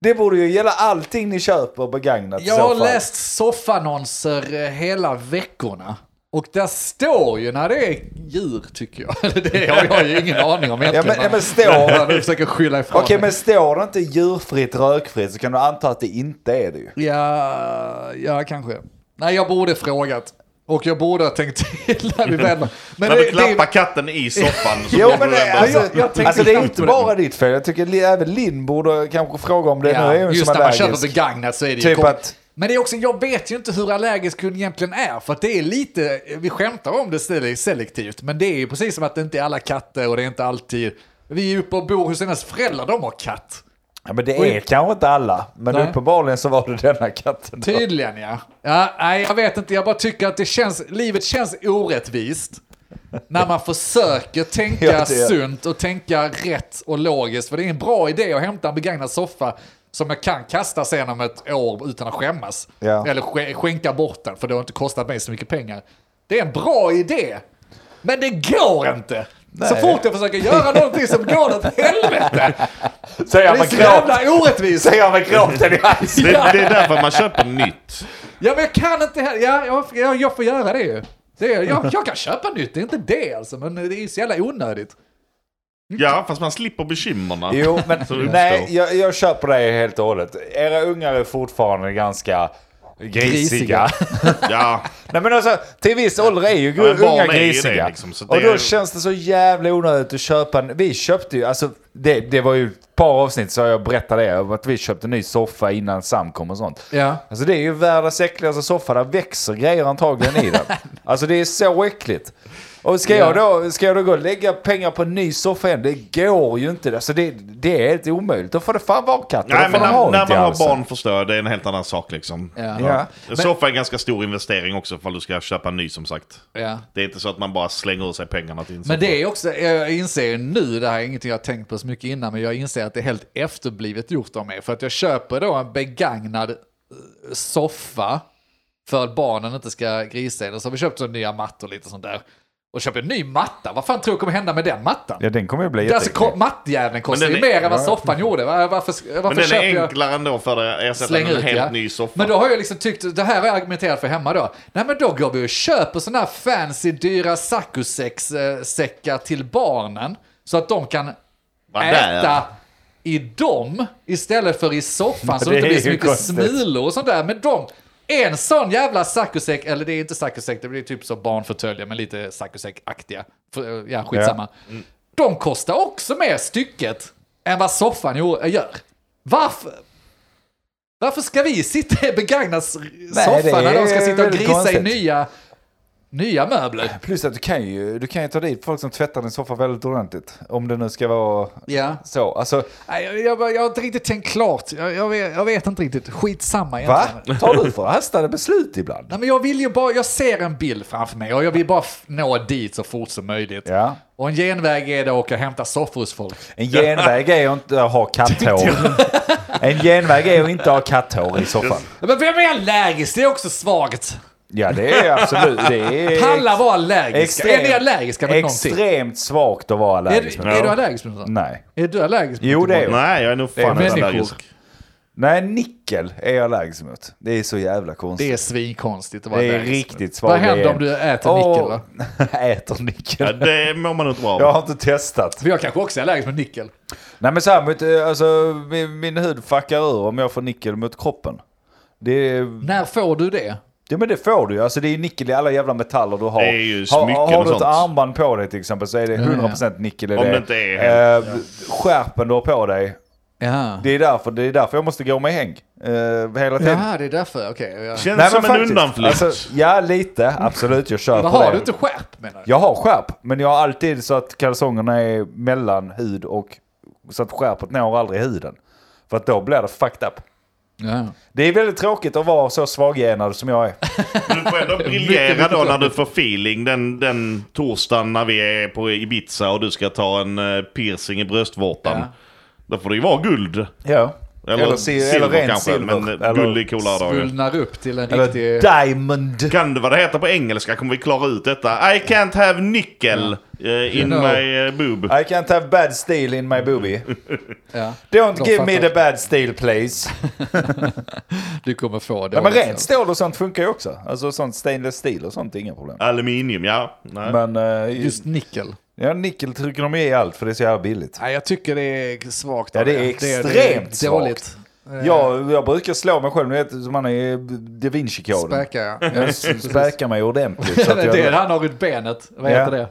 Det borde ju gälla allting ni köper begagnat i Jag så har fall. läst soffannonser eh, hela veckorna. Och där står ju när det är djur, tycker jag. (laughs) Eller Det har jag ju ingen aning om egentligen. men- (laughs) ja, men står- (laughs) Jag nu försöker skylla ifrån Okej, men står det inte djurfritt, rökfritt så kan du anta att det inte är det ju. mig. Ja, ja, kanske. Nej, jag borde frågat. Och jag borde ha tänkt (laughs) till när (laughs) vi väl... Men När det, du klappar det, katten i soffan så Jo, borde men du det, ändå- alltså, Jag- jag tänkte alltså, det är knappt inte på det. bara ditt fel. Jag tycker li- även Linn borde kanske fråga om det. nu är ja, hon just som när man allergisk. köper begagnat så är det ju Typ kom- att- Men det är också, jag vet ju inte hur allergisk hon egentligen är. För att det är lite, vi skämtar om det sele- selektivt, men det är ju precis som att det inte är alla katter och det är inte alltid... Vi är uppe och bor hos hennes föräldrar, de har katt. Ja, men det Oj. är kanske inte alla. Men Nej. uppenbarligen så var det denna katten. då. Tydligen ja. ja. Nej, jag vet inte. Jag bara tycker att det känns, livet känns orättvist. När man försöker tänka (laughs) Ja, det är- sunt och tänka rätt och logiskt. För det är en bra idé att hämta en begagnad soffa som jag kan kasta sen om ett år utan att skämmas. Ja. Eller ske- skänka bort den, för det har inte kostat mig så mycket pengar. Det är en bra idé, men det går inte. Så Nej. fort jag försöker göra någonting som går åt helvete. Säger Det han är med så gråt. jävla orättvist. Säger han med gråten i halsen. det, det är därför man köper nytt. Ja men jag kan inte heller, ja, jag, jag, jag får göra det ju. Det, är- jag, jag kan köpa nytt, det är inte det alltså, men det är ju så jävla onödigt. Ja, fast man slipper bekymmerna. (laughs) Jo, men Så uppstår. nej, jag, jag köper det helt och hållet. Era ungar är fortfarande ganska grisiga. Grisiga. Ja, nej, men alltså, till viss ålder är ju men barn unga är ju det, grisiga. liksom, så och det då är- känns det så jävla onödigt att köpa en... Vi köpte ju, alltså det, det var ju ett par avsnitt så jag berättade det, om att vi köpte en ny soffa innan Sam kom och sånt. Ja. Alltså det är ju världens äckligaste soffa, där växer grejer antagligen i den. (laughs) Alltså det är så äckligt. Och ska, jag då, ska jag då gå och lägga pengar på en ny soffa igen? Det går ju inte. Alltså det, det är helt omöjligt. Då får det fan vara katter. Nej, Då får men de när, ha när ont i man har halsen. barn förstörd, det är en helt annan sak liksom. Ja. Ja. En soffa är en ganska stor investering också ifall du ska köpa en ny som sagt. Ja. Det är inte så att man bara slänger ur sig pengarna till en soffa. Men det är också, jag inser ju nu, det här är ingenting jag har tänkt på så mycket innan, men jag inser att det är helt efterblivet gjort av mig. För att jag köper då en begagnad eh, soffa för att barnen inte ska grisa i den. Så har vi köpt så nya mattor och lite sånt där. Och köper en ny matta, vad fan tror du kommer hända med den mattan? Ja, den kommer ju bli Det är Alltså, jätteäcklig. ko- mattjäveln kostar Men ju den är- mer än vad soffan gjorde. Var- Varför, varför Men den köper är jag... enklare ändå för att ersätta en Slänger ut helt ja. ny soffa. Men då har jag liksom tyckt, det här har jag argumenterat för hemma då. Nej men då går vi och köper sådana här fancy dyra saccosäckar till barnen. Så att de kan Vad där? äta i dem istället för i soffan Det så det inte är blir (laughs) så ju mycket konstigt. smulor och sånt där. Men de, En sån jävla saccosäck, eller det är inte saccosäck, det blir typ som barnfåtöljer, men lite saccosäck-aktiga. För, eh, Ja, skitsamma. Mm. De kostar också mer stycket än vad soffan jo- eh, gör. Varför? Varför ska vi sitta i begagnad s- det soffa när de är ska sitta och väldigt grisa i konstigt. nya, nya möbler? Plus att du kan ju, du kan ju ta dit folk som tvättar din soffa väldigt ordentligt. Om det nu ska vara Ja. så. Alltså, Nej, jag, jag, bara- jag har inte riktigt tänkt klart. Jag, jag, vet, jag vet inte riktigt. Skitsamma va? egentligen. Tar du förhastade beslut ibland? Nej, men jag vill ju bara, jag ser en bild framför mig och jag vill bara f- nå dit så fort som möjligt. Ja. Och en genväg är det att åka och hämta soffor hos folk. En genväg är att inte ha (laughs) katthår. En genväg är att inte ha katthår i soffan. Men vem är allergisk? Det är också svagt. Ja, det är absolut. Det är Palla var allergisk. Är ni allergiska mot någonting? extremt svagt att vara Är, du- allergisk. mot. är du allergisk mot något? Nej. Är du allergisk mot Jo, något? det är jag. Nej, jag är nog fan människor. inte allergisk. Nej, nickel är jag allergisk mot. Det är så jävla konstigt. Det är svinkonstigt att vara Det är allergisk. riktigt svagt. Vad händer om du äter nickel då? (laughs) äter Ja, nickel? det mår man inte bra av. Jag har inte testat. För jag kanske också är allergisk mot nickel. Nej men så här, mot, eh, alltså, min, min hud fuckar ur om jag får nickel mot kroppen. Det, När får du det? ja men det får du ju. Alltså det är ju nickel i alla jävla metaller du har. Det är ju har, smycken har och du ett sånt. armband på dig till exempel så är det 100% nickel i Om det. det inte är eh, Skärpen du har på dig. Ja. Det är därför, det är därför jag måste gå med häng. Eh, hela tiden. Jaha, det är därför. Okej. ja. Känns Nej, som men en faktiskt. undanflykt. Alltså, ja lite, absolut. Jag kör Vad på har det. du inte skärp menar du? Jag har skärp, men jag har alltid så att kalsongerna är mellan hud och så att skärpet når aldrig huden. För att då blir det fucked up. Ja. Det är väldigt tråkigt att vara så svaggenad som jag är. Du får ändå Mycket, briljera mycket då när klart. du får feeling den, den torsdagen när vi är på Ibiza och du ska ta en eh, piercing i bröstvårtan. Ja. Då får det ju vara guld. Ja. Eller si- silver kanske, men eh, guld är coolare då ju. Svullnar upp till en eller riktig... diamond. Kan det vad det heter på engelska? Kommer vi klara ut detta? I can't have nickel eh, in You know. my eh, boob. I can't have bad steel in my boobie. Ja. Don't De give me fattar. the bad steel please. Du kommer få det. Nej, men rent stål och sånt funkar ju också. Alltså sånt stainless steel och sånt, är inga problem. Aluminium, ja. Nej. Men eh, Just nickel. ja, nickel trycker de i allt för det är så jävla billigt. Nej, jag tycker det är svagt. Ja, det är extremt svagt. dåligt. Eh, Jag, jag brukar slå mig själv, ni vet som han är i Da Vinci-koden. Späkar (laughs) jag. Jag späkar mig ordentligt. Så att (laughs) det är jag, han har runt benet. Vad Ja. heter det?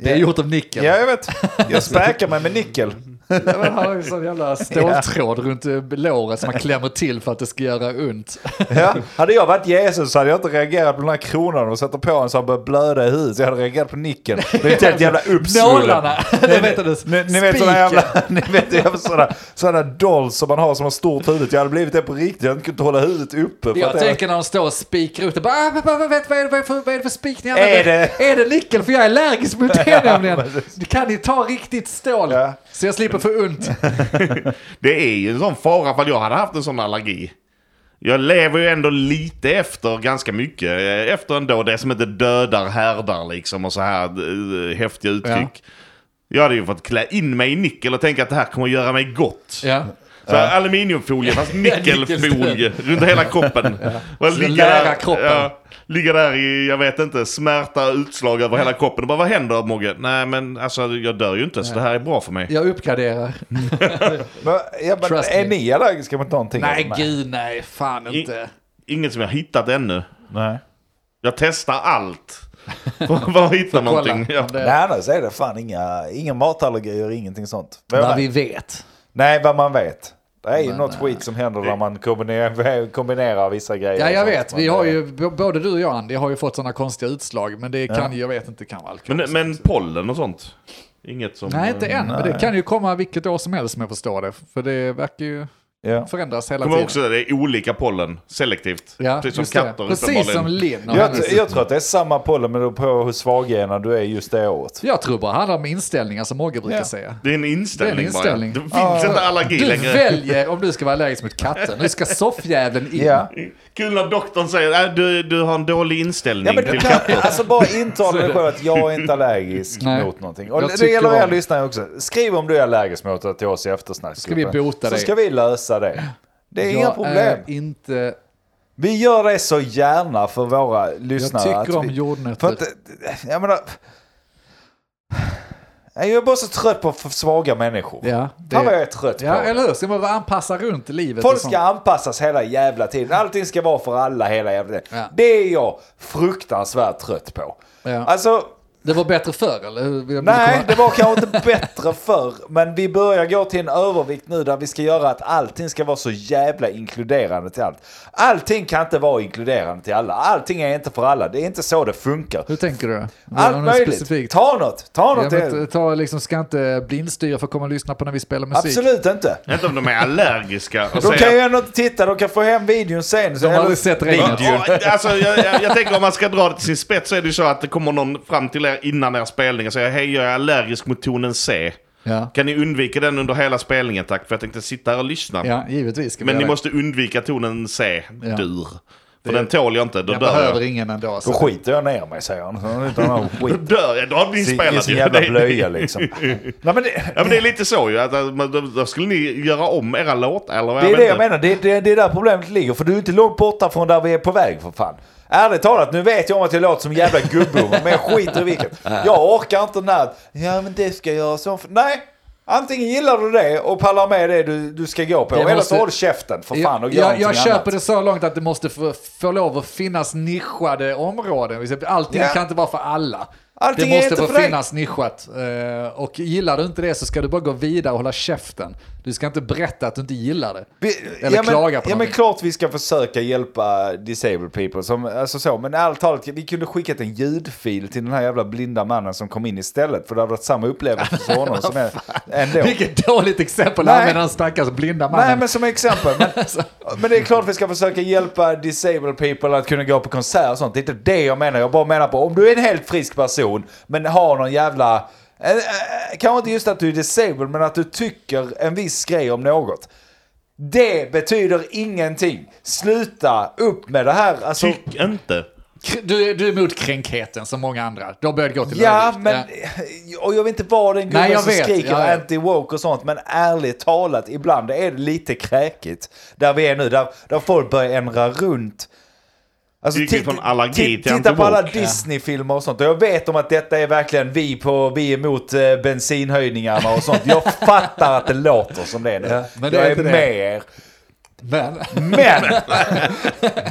Det är Ja. gjort av nickel. (laughs) ja, jag vet. Jag späkar mig med nickel. Ja, men Han har ju sån jävla ståltråd runt eh, låret som man klämmer till för att det ska göra ont. Ja, hade jag varit Jesus så hade jag inte reagerat på den här kronan och sätter på en så han börjar blöda i huvudet. Jag hade reagerat på nickeln. Det är ett helt jävla uppsvullen. Nålarna! (laughs) Det vet du. Ni, ni vet sådana jävla, (laughs) ni vet jävla sådana, sådana dolls som man har som har stort huvud. Jag hade blivit det på riktigt. Jag hade inte kunnat hålla huvudet uppe. För Jag att jag, tänker när de står och spikar ut det. Bara, ah, men, men, men, vet, vad, är det, vad, är det för, vad är det för spik ni Är Är det nickel? För jag är allergisk (laughs) mot det nämligen. precis. Du kan ju ta riktigt stål. Ja. Så jag slipper få ont. Det är ju en sån fara för jag hade haft en sån allergi. Jag lever ju ändå lite efter ganska mycket. eh, Efter ändå det som inte dödar härdar liksom och så här eh, häftiga uttryck. Jag hade ju fått klä in mig i nickel och tänka att det här kommer att göra mig gott. Ja. Så här, (laughs) aluminiumfolie fast nickelfolie Nickelfolie. runt hela kroppen. (laughs) Ja. Så lära kroppen. ligga där i, jag vet inte, smärta, utslag över hela kroppen. Och bara, vad händer Mogge? Nej men alltså jag dör ju inte så det här är bra för mig. Jag uppgraderar. men, ja, men, Trust är me. ni allergiska mot någonting? Nej, gud nej. Fan I- inte. Inget som jag hittat ännu. Nej. Jag testar allt. (laughs) Vad hittar någonting? Kolla. Ja. om det- Nej, annars är det fan inga, inga matallergier, ingenting sånt. Men, Vad vi eh, vet. Nej, vad man vet. Det är ju något nej. skit som händer när man kombinerar, (laughs) kombinerar vissa grejer. Ja, jag och sånt. vet. Men Vi det- har ju, b- både du och jag Andy har ju fått sådana konstiga utslag. Men det kan ju, jag vet inte, kan vara alkohol. Men, men pollen och sånt? Inget som... eh, Nej, inte än. Men det kan ju komma vilket år som helst som jag förstår det. För det verkar ju Ja. förändras hela Kommer tiden. också, det är olika pollen, selektivt. Ja, Precis som just det. katter Precis uppenbarligen. som Linn. och Jag, hennes- jag tror att det är samma pollen, men det beror på hur svaggenad du är just det året. Jag tror bara det handlar om inställningar som Mogge brukar Ja. säga. Det är en inställning, Det är en inställning. bara. Det finns Ja. inte allergi Du längre. väljer om du ska vara allergisk mot katter. Nu (laughs) ska soffjäveln in. Ja. Kul när doktorn säger att du, du har en dålig inställning Ja, men du till kan, katter. alltså bara (laughs) intala dig själv att jag är inte allergisk Nej. mot någonting. Och Jag det- det tycker gäller om- er lyssnare också. Skriv om du är allergisk mot det till oss i eftersnack. Så ska vi bota Så dig. ska vi lösa det. Det är inga jag problem. Är inte, Vi gör det så gärna för våra jag lyssnare. tycker att om vi... jordnötter. För att, jag menar... Jag är bara så trött på för svaga människor. Ja, det... Fan vad jag är trött Ja, på. eller hur? Ska man bara anpassa runt livet Folk och sånt? ska anpassas hela jävla tiden. Allting ska vara för alla hela jävla tiden. Ja. Det är jag fruktansvärt trött på. Ja. Alltså, Det var bättre förr, eller? hur? Vill- vill du nej, komma- det var kanske inte bättre (laughs) förr. Men vi börjar gå till en övervikt nu där vi ska göra att allting ska vara så jävla inkluderande till allt. Allting kan inte vara inkluderande till alla. Allting är inte för alla. Det är inte så det funkar. Hur tänker du? Har du Allt något möjligt. specifikt? Ta något. Ta något. Ja, men, till- ta, liksom, ska inte blindstyra för att komma och lyssna på när vi spelar musik. Absolut inte. Inte om de är allergiska. Och De kan ju säger, ändå inte titta, de kan få hem videon sen. Så De har aldrig sett regnet. Åh, alltså, jag, jag, jag tänker om man ska dra det till sin spets så är det ju så att det kommer någon fram till er innan er spelning och säger hej jag är allergisk mot tonen C. Ja, Kan ni undvika den under hela spelningen tack? För jag tänkte sitta här och lyssna. ja givetvis. Ska vi Men ni göra det. måste undvika tonen C, Ja. dur. För den tål jag inte, då Jag dör behöver jag. ingen ändå. Då Så. skiter jag ner mig, säger han. Så han utan någon Då skit. dör jag, då har ni I spelat sin ju. jävla (laughs) Det är- blöja liksom. Nej, men det, Ja men det är lite så ju, att, att man- då, då skulle ni göra om era låtar eller vad det är vet det inte. jag menar, det, det, det är där problemet ligger. För du är inte långt borta från där vi är på väg för fan. Ärligt talat, nu vet jag om att jag låter som jävla gubbunge, men jag skiter i vilket. Jag orkar inte den här, ja men det ska jag göra så. Nej, antingen gillar du det och pallar med det du, du ska gå på, Det eller måste- så håll käften för fan och Jag, gör jag, jag någonting köper annat. det så långt att det måste få, få lov att finnas nischade områden. Allting Ja. kan inte vara för alla. Allting det är måste inte få för dig. finnas nischat. Eh, Och gillar du inte det så ska du bara gå vidare och hålla käften. Du ska inte berätta att du inte gillar det. Vi- Eller ja, men, klaga på Ja men någonting. klart vi ska försöka hjälpa disabled people. Som, alltså så, men ärligt talat, vi kunde skickat en ljudfil till den här jävla blinda mannen som kom in istället. För det hade varit samma upplevelse för honom (laughs) som är ändå. Vilket dåligt exempel att Nej. använda den stackars blinda mannen. Nej men som exempel. Men, men det är klart vi ska försöka hjälpa disabled people att kunna gå på konserter och sånt. Det är inte det jag menar. Jag bara menar på om du är en helt frisk person men har någon jävla... eh, eh, Kanske inte just att du är disabled men att du tycker en viss grej om något. Det betyder ingenting. Sluta upp med det här. Alltså, Tyck inte. K- Du, du är emot kränkheten som många andra. De började gå till ja, övervikt. men... Och jag vill inte vara den Nej, gubben jag som vet. skriker Ja, ja. anti-woke och sånt. Men ärligt talat, ibland är det lite kräkigt. Där vi är nu, där, där folk börjar ändra runt. Alltså, Det gick ju ti- från allergi ti- till titta på alla anti-woke. Disney-filmer och sånt. Och jag vet om att detta är verkligen vi på, vi är emot eh, bensinhöjningarna och sånt. (laughs) Jag fattar att det låter som det är nu. men det jag är är inte det. med er. men... (laughs) Men, (laughs)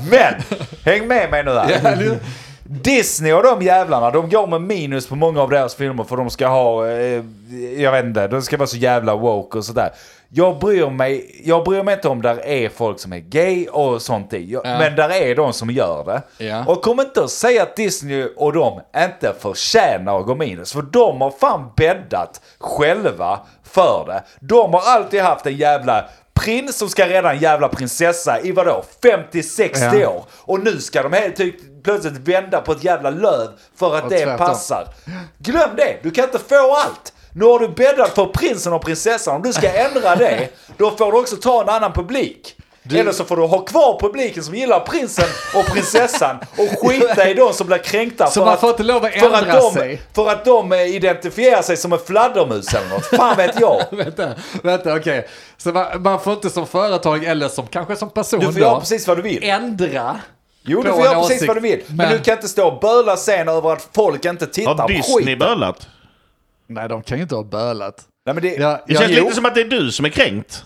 men, häng med mig nu här. Ja, eller hur? Disney och de jävlarna, de går med minus på många av deras filmer för de ska ha, eh, jag vet inte, de ska vara så jävla woke och sådär. Jag bryr mig, jag bryr mig inte om där är folk som är gay och sånt i, jag, Ja. men där är de som gör det. Ja. Och kom inte och säga att Disney och de inte förtjänar att gå minus, för de har fan bäddat själva för det. De har alltid haft en jävla prins som ska rädda en jävla prinsessa i vadå, 50-60 Ja. år. Och nu ska de helt tyck- plötsligt vända på ett jävla löv för att Och det tvärtom. passar. Glöm det, du kan inte få allt. Nu har du bäddat för prinsen och prinsessan. Om du ska ändra det, då får du också ta en annan publik. Eller så får du ha kvar publiken som gillar prinsen och prinsessan och skita i de som blir kränkta Så man får inte lov att för ändra att de, sig. För att de eh, identifierar sig som en fladdermus eller något. Fan vet jag. vänta, vänta okej. Så man, man får inte som företag eller som kanske som person Du får då göra precis vad du vill. ändra. Jo, du på får göra en precis åsikt, vad du vill. Men, men- du kan inte stå och böla sen över att folk inte tittar Har på Disney skiten. bölat? Nej, de kan ju inte ha bölat. Nej, men det, Ja, Det ja, känns jo. lite som att det är du som är kränkt.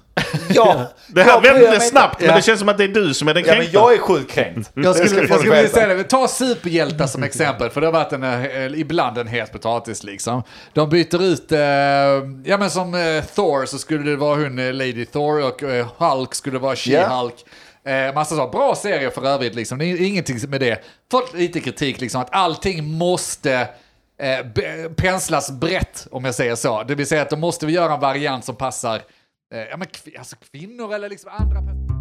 ja, Det här jag bryr mig vände inte. snabbt, men Ja. det känns som att det är du som är den Ja, men kränkta. jag är sjukt kränkt. Jag Det ska skulle, folk jag skulle vilja veta. säga det, ta superhjältar som exempel, för det har varit en, eh, ibland en het potatis liksom. De byter ut, eh, ja men som eh, Thor så skulle det vara hon eh, Lady Thor och eh, Hulk skulle vara She-Hulk. Eh, massa så, bra serier för övrigt liksom, det är ingenting med det. Fått lite kritik liksom att allting måste eh, be- penslas brett om jag säger så. Det vill säga att då måste vi göra en variant som passar eh, ja, men, kvi- alltså kvinnor eller liksom andra personer.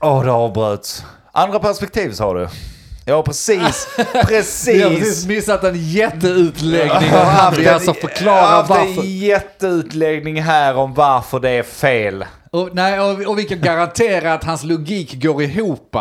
Åh, det avbröts. Andra perspektiv sa du. (laughs) Ja, precis. Vi har Precis. precis missat en jätteutläggning Jag har av haft en- Andreas som jag har förklarar haft alltså varför. en jätteutläggning här om varför det är fel. Och, nej, och, och vi kan garantera att hans logik går ihop.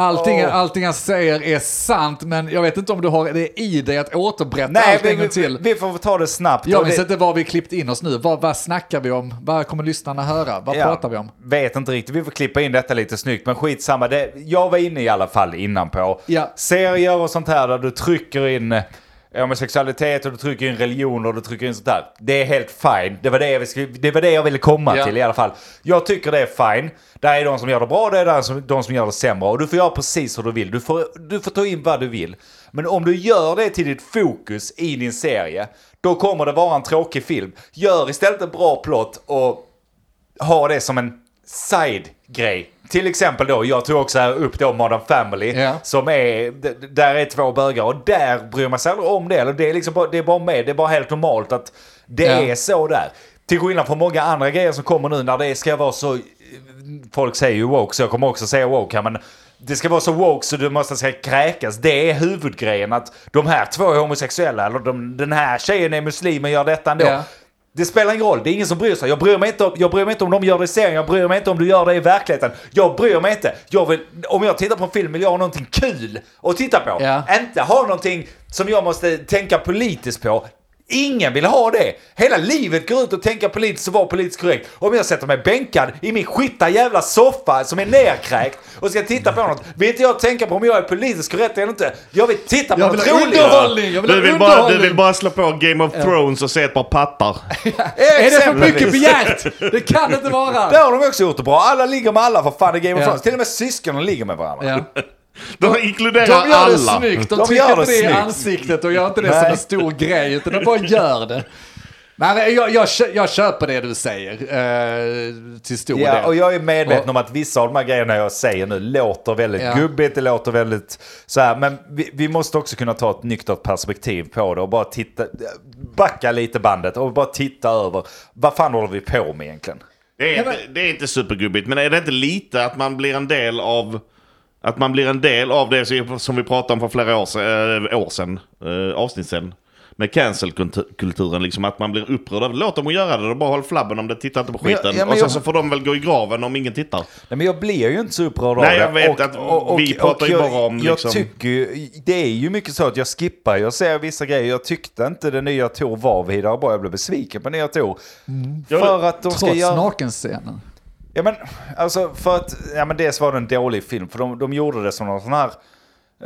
Allting, Åh. allting han säger är sant, men jag vet inte om du har det i dig att återberätta Nej, allt vi, en gång vi, till. vi får ta det snabbt. Jag Och minns det- inte var vi klippt in oss nu. Vad, vad snackar vi om? Vad kommer lyssnarna höra? Vad Ja, pratar vi om? Vet inte riktigt, vi får klippa in detta lite snyggt. Men skitsamma, det, jag var inne i alla fall innan på Ja. serier och sånt här där du trycker in eh, homosexualitet och du trycker in religion och du trycker in sånt där. Det är helt fine. Det var det jag, skulle- det var det jag ville komma Ja. till i alla fall. Jag tycker det är fine. Där är de som gör det bra, det är där som, de som gör det sämre. Och du får göra precis hur du vill. Du får, du får ta in vad du vill. Men om du gör det till ditt fokus i din serie, då kommer det vara en tråkig film. Gör istället en bra plott och ha det som en side-grej. Till exempel då, jag tog också här upp då Modern Family, Ja. som är, d- d- där är två bögar och där bryr man sig aldrig om det. Eller det, är liksom bara, det är bara med, det är bara helt normalt att det Ja. är så där. Till skillnad från många andra grejer som kommer nu när det ska vara så, folk säger ju woke så jag kommer också säga woke här men det ska vara så woke så du måste ska kräkas. Det är huvudgrejen att de här två är homosexuella eller de, den här tjejen är muslim och gör detta ändå. Ja. Det spelar ingen roll, det är ingen som bryr sig. Jag bryr mig inte om, jag bryr mig inte om de gör det i serien, jag bryr mig inte om du gör det i verkligheten. Jag bryr mig inte. Jag vill, om jag tittar på en film vill jag ha någonting kul att titta på. Ja. Inte ha någonting som jag måste tänka politiskt på. Ingen vill ha det. Hela livet går ut och tänka politiskt och vara politiskt korrekt. Om jag sätter mig bänkad i min skitta jävla soffa som är nerkräkt och ska titta på något, vill inte jag tänka på om jag är politiskt korrekt eller inte. Jag vill titta på Jag vill något ha roligt. underhållning! Jag vill Du ha vill, bara, underhållning! du vill bara slå på Game of Thrones och se ett par pattar. Är det för Exempelvis. mycket begärt? Det kan inte (laughs) vara! Det har de också gjort det bra. Alla ligger med alla för fan i Game of Ja. Thrones. Till och med syskonen ligger med varandra. Ja. De inkluderar De gör det alla. snyggt, de, De trycker gör det inte det i snyggt. ansiktet och gör inte det Nej. som en stor grej, utan de bara gör det. Nej, men jag, jag, kö- jag köper det du säger, eh, till stor Ja, del. och jag är medveten Och- om att vissa av de här grejerna jag säger nu låter väldigt Ja. gubbigt, det låter väldigt så här, men vi, vi måste också kunna ta ett nyktert perspektiv på det och bara titta, backa lite bandet och bara titta över, vad fan håller vi på med egentligen? Det är, Ja, men- inte, det är inte supergubbigt, men är det inte lite att man blir en del av... Att man blir en del av det som- som vi pratade om för flera år sedan, eh, år sedan eh, avsnitt sedan. Med cancelkulturen, liksom att man blir upprörd. av- Låt dem att göra det, då bara håll flabben om det, titta inte på Men jag- skiten. ja, men och sen jag- så får de väl gå i graven om ingen tittar. Nej men jag blir ju inte så upprörd Nej, av jag det. vet att vi pratar ju jag, bara om Jag liksom- tycker ju, det är ju mycket så att jag skippar, jag ser vissa grejer, jag tyckte inte den nya Tor var vidare bra, jag blev besviken på nya Tor. För att de ska Mm. Trots göra... nakenscenen. Ja men alltså för att, ja men dels var det en dålig film för de, de gjorde det som någon sån här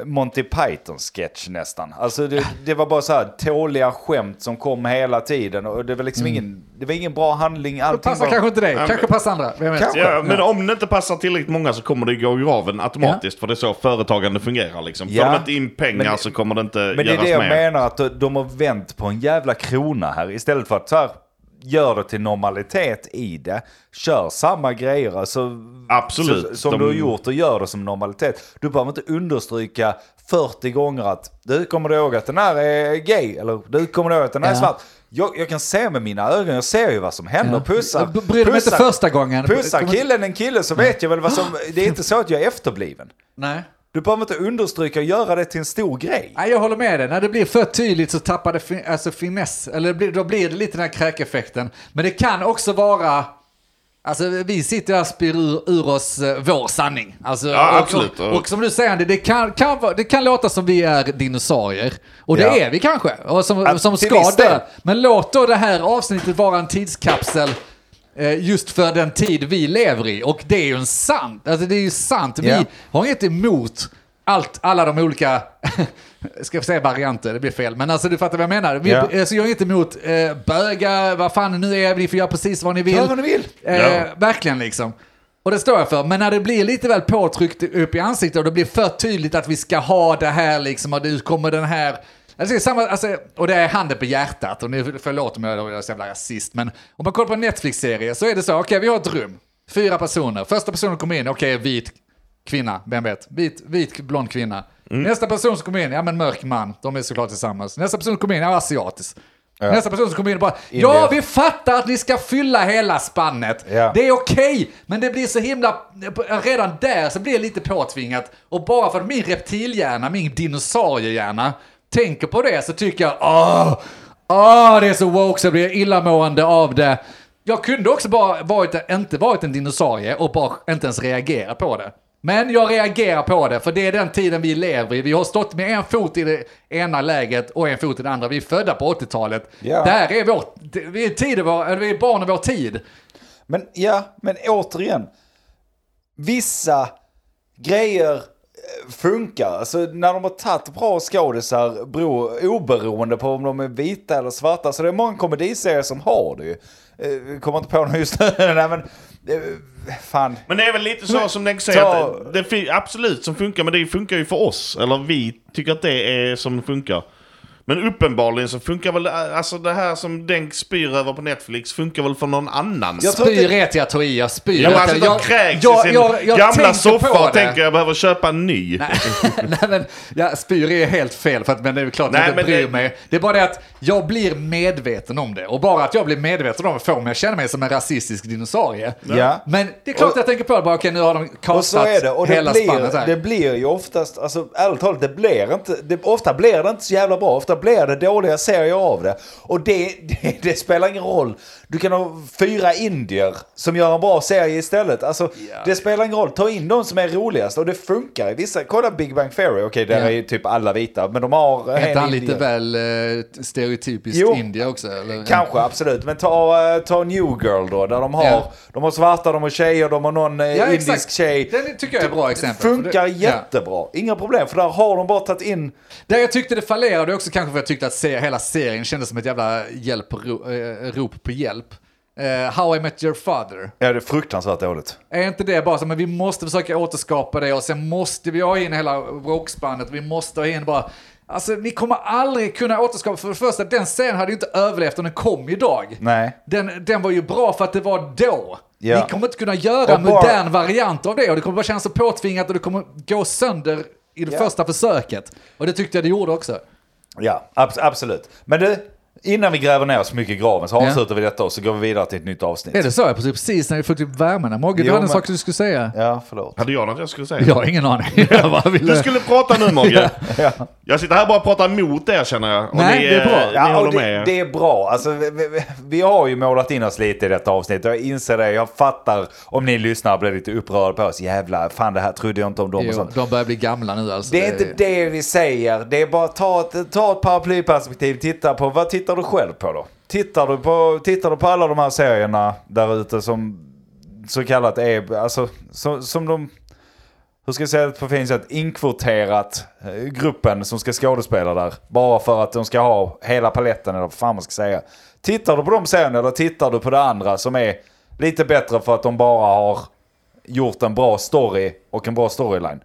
Monty Python-sketch nästan. Alltså det, det var bara så här tåliga skämt som kom hela tiden och det var liksom ingen, det var ingen bra handling. Mm. Det Allting passar var, kanske inte dig, men- kanske passar andra. Vem vet? Kanske. Ja, men om det inte passar tillräckligt många så kommer det gå i graven automatiskt. För det är så företagande fungerar liksom. Får Ja. de inte in pengar Men- så kommer det inte men det är göras det jag mer. menar att de, de har vänt på en jävla krona här istället för att så här, gör det till normalitet i det. Kör samma grejer, alltså Absolut. Så, som De- du har gjort och gör det som normalitet. Du behöver inte understryka 40 gånger att du kommer du ihåg att den här är gay eller du kommer du ihåg att den här är Ja. svart. Jag, jag kan se med mina ögon, jag ser ju vad som händer. Ja. Pussar, B- Bryr dig inte pussar- första gången. Pussar Kommer- killen en kille så vet jag väl vad som... Det är inte så att jag är efterbliven. Nej. Du behöver inte understryka och göra det till en stor grej. Nej, jag håller med dig. När det blir för tydligt så tappar det fin- alltså finess. Eller det blir- då blir det lite den här kräkeffekten. Men det kan också vara... Alltså vi sitter här och spyr ur, ur oss eh, vår sanning. Alltså, Ja, och, absolut. Och, och som du säger, Andy, det kan, kan, vara- det kan låta som vi är dinosaurier. Och det Ja. är vi kanske. Och som, Ja, som till ska viss dö. del. Men låt då det här avsnittet vara en tidskapsel. eh, Just för den tid vi lever i. Och det är ju en sant. Alltså det är ju sant. Vi, Ja. har inget emot allt, alla de olika, (laughs) ska jag säga varianter, det blir fel, men alltså du fattar vad jag menar. Vi, Ja. alltså, jag har inget emot eh, bögar, vad fan nu är ni får göra precis vad ni vill. Gör vad ni vill. Eh, Ja. Verkligen liksom. Och det står jag för, men när det blir lite väl påtryckt upp i ansiktet och det blir för tydligt att vi ska ha det här liksom, och nu kommer den här... Alltså, det är samma, alltså, och det är handen på hjärtat, och nu förlåt om jag jag är så jävla rasist, men om man kollar på en Netflix-serie så är det så, okej vi har ett rum, fyra personer, första personen kommer in, okej vit, kvinna, vem vet? Vit, vit blond kvinna. Nästa person som kommer in, ja men mörk man, de är såklart tillsammans. Nästa person som kommer in, ja asiatisk. Nästa person som kommer in och bara, ja vi fattar att ni ska fylla hela spannet. Ja. Det är okej, men det blir så himla, redan där så blir det lite påtvingat. Och bara för att min reptilhjärna, min dinosauriehjärna, tänker på det så tycker jag, åh, åh det är så woke så jag blir illamående av det. Jag kunde också bara varit, inte varit en dinosaurie och bara inte ens reagera på det. Men jag reagerar på det, för det är den tiden vi lever i. Vi har stått med en fot i det ena läget och en fot i det andra. Vi är födda på 80-talet. Ja. Där är vår, vi är, tid, i vår- eller vi är barn av vår tid. Men ja, men återigen. Vissa grejer funkar. Alltså när de har tagit bra skådisar bero, oberoende på om de är vita eller svarta. Så det är många komediserier som har det ju. Eh, Kommer inte på någon just nu. (laughs) Nej men, eh, fan. Men det är väl lite så som Nick säger, Ta- att det, fin- absolut som funkar, men det funkar ju för oss. Eller vi tycker att det är som funkar. Men uppenbarligen så funkar väl, alltså det här som Denk spyr över på Netflix funkar väl för någon annan. Jag tror Spy inte- rätt jag tror i, jag spyr Ja, men rätt. alltså, de Jag- kräks jag- i sin jag- jag tänker gamla på soffa och det. tänker jag behöver köpa en ny. (laughs) Nej men, ja, spyr är helt fel för att, men det är klart Nej, att jag men inte bryr det- mig. Det är bara det att jag blir medveten om det. Och bara att jag blir medveten om det får mig att känna mig som en rasistisk dinosaurie. Ja. Men det är klart Och- att jag tänker på det, bara okej nu har de Och så kastat är det. Och det hela spannet blir, här. det blir ju oftast, alltså ärligt talat, det blir inte, det, ofta blir det inte så jävla bra. Ofta blir det dåliga serier av det. Och det, det, det spelar ingen roll. Du kan ha fyra indier som gör en bra serie istället. Alltså, Ja. det spelar ingen roll. Ta in de som är roligast och det funkar i vissa. Kolla Big Bang Theory, okej där Ja. är ju typ alla vita, men de har eh, Är inte en han lite indier. väl eh, stereotypiskt Jo. indier också? Eller? Kanske, absolut. Men ta, eh, ta New Girl då, där de har, Ja. de har svarta, de har tjejer, de har någon eh, Ja, indisk exakt. tjej. Den tycker jag är ett bra exempel. Funkar För det- ja. jättebra, inga problem. För där har de bara tagit in... Där jag tyckte det fallerade också kanske för jag tyckte att se, hela serien kändes som ett jävla hjälp, ro, eh, rop på hjälp. Eh, How I Met Your Father. Ja, det är fruktansvärt dåligt. Är inte det bara så, men vi måste försöka återskapa det och sen måste vi ha in hela rockspannet, vi måste ha in bara... Alltså ni kommer aldrig kunna återskapa, för det första den serien hade ju inte överlevt om den kom idag. Nej. Den, den var ju bra för att det var då. Ja. Ni kommer inte kunna göra Och en bara- modern variant av det och det kommer bara kännas så påtvingat och det kommer gå sönder i det Ja. första försöket. Och det tyckte jag det gjorde också. Ja, abs- absolut. Men du, innan vi gräver ner så mycket i graven så Ja. avslutar vi detta och så går vi vidare till ett nytt avsnitt. Är det så? Jag precis, precis när vi fick upp värmen. Mogge, du Jo, hade en men- sak du skulle säga. Ja, förlåt. Hade jag något jag skulle säga? Jag har ingen aning. (laughs) Jag bara ville... Du skulle prata nu Mogge. Jag sitter här bara och pratar emot er känner jag. Och Nej, ni, det är bra. eh, (laughs) Ni Ja, håller och det, med. det är bra. Alltså, vi, vi, vi har ju målat in oss lite i detta avsnitt. Jag inser det. Jag fattar om ni lyssnar och blir lite upprörda på oss. Jävlar, fan det här trodde jag inte om dem och Jo, sånt. de börjar bli gamla nu alltså. Det är inte det vi säger. Det är bara att ta ett, ta ett paraplyperspektiv. Titta på, vad tittar du själv på då? Tittar du på, tittar du på alla de här serierna där ute som så kallat är, alltså som, som de, hur ska jag säga det på fint sätt, inkvoterat eh, gruppen som ska skådespela där. Bara för att de ska ha hela paletten eller vad fan man ska säga. Tittar du på de serierna eller tittar du på det andra som är lite bättre för att de bara har gjort en bra story och en bra storyline.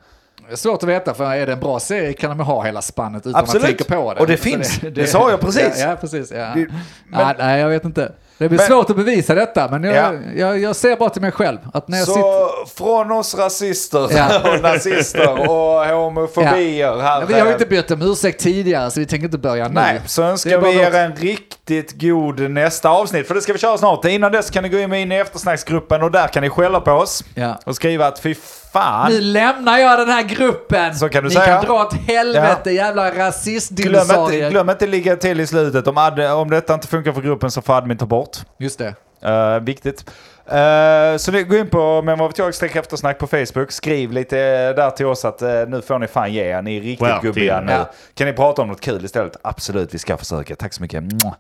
Det är svårt att veta, för är det en bra serie kan de ha hela spannet utan Absolut. att tänka på det. Och det Så finns. Det sa jag precis. Ja, ja precis. Ja. Det- ja, nej, jag vet inte. Det blir Men- svårt att bevisa detta, men jag, Ja. jag, jag ser bara till mig själv. Att när jag Så sitter... från oss rasister Ja. (laughs) och nazister och homofobier här. eh, Ja, vi har ju inte bett om ursäkt tidigare, så vi tänker inte börja nu. Nej, så Det önskar är bara vi er något- en riktigt god nästa avsnitt. För det ska vi köra snart. Innan dess kan ni gå in med in i eftersnacksgruppen och där kan ni skälla på oss. Ja. Och skriva att fy fan. Nu lämnar jag den här gruppen! Så kan du Ni säga. kan dra åt helvete, jävla Glöm inte, rasistdinosaurier. glöm inte ligga till i slutet. Om, ad, om detta inte funkar för gruppen så får admin ta bort. Just det. Eh, viktigt. Eh, så ni- gå in på men vad vet jag, streck eftersnack på Facebook. Skriv lite eh, där till oss att eh, nu får ni fan ge er. Ni är riktigt Skärp gubbiga till. nu. Ja. Kan ni prata om något kul istället? Absolut, vi ska försöka. Tack så mycket. Mwah.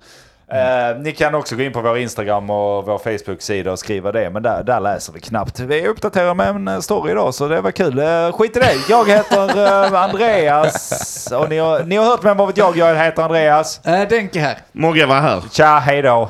Eh, ni kan också gå in på vår Instagram och vår Facebook-sida och skriva det, men där, där läser vi knappt. Vi uppdaterar med en eh, story idag, så det var kul. Eh, skit i det. Jag heter eh, Andreas och ni har, ni har hört vem vad vet jag, jag heter Andreas. Äh, Denke här. Mogge var här. Tja, hej då.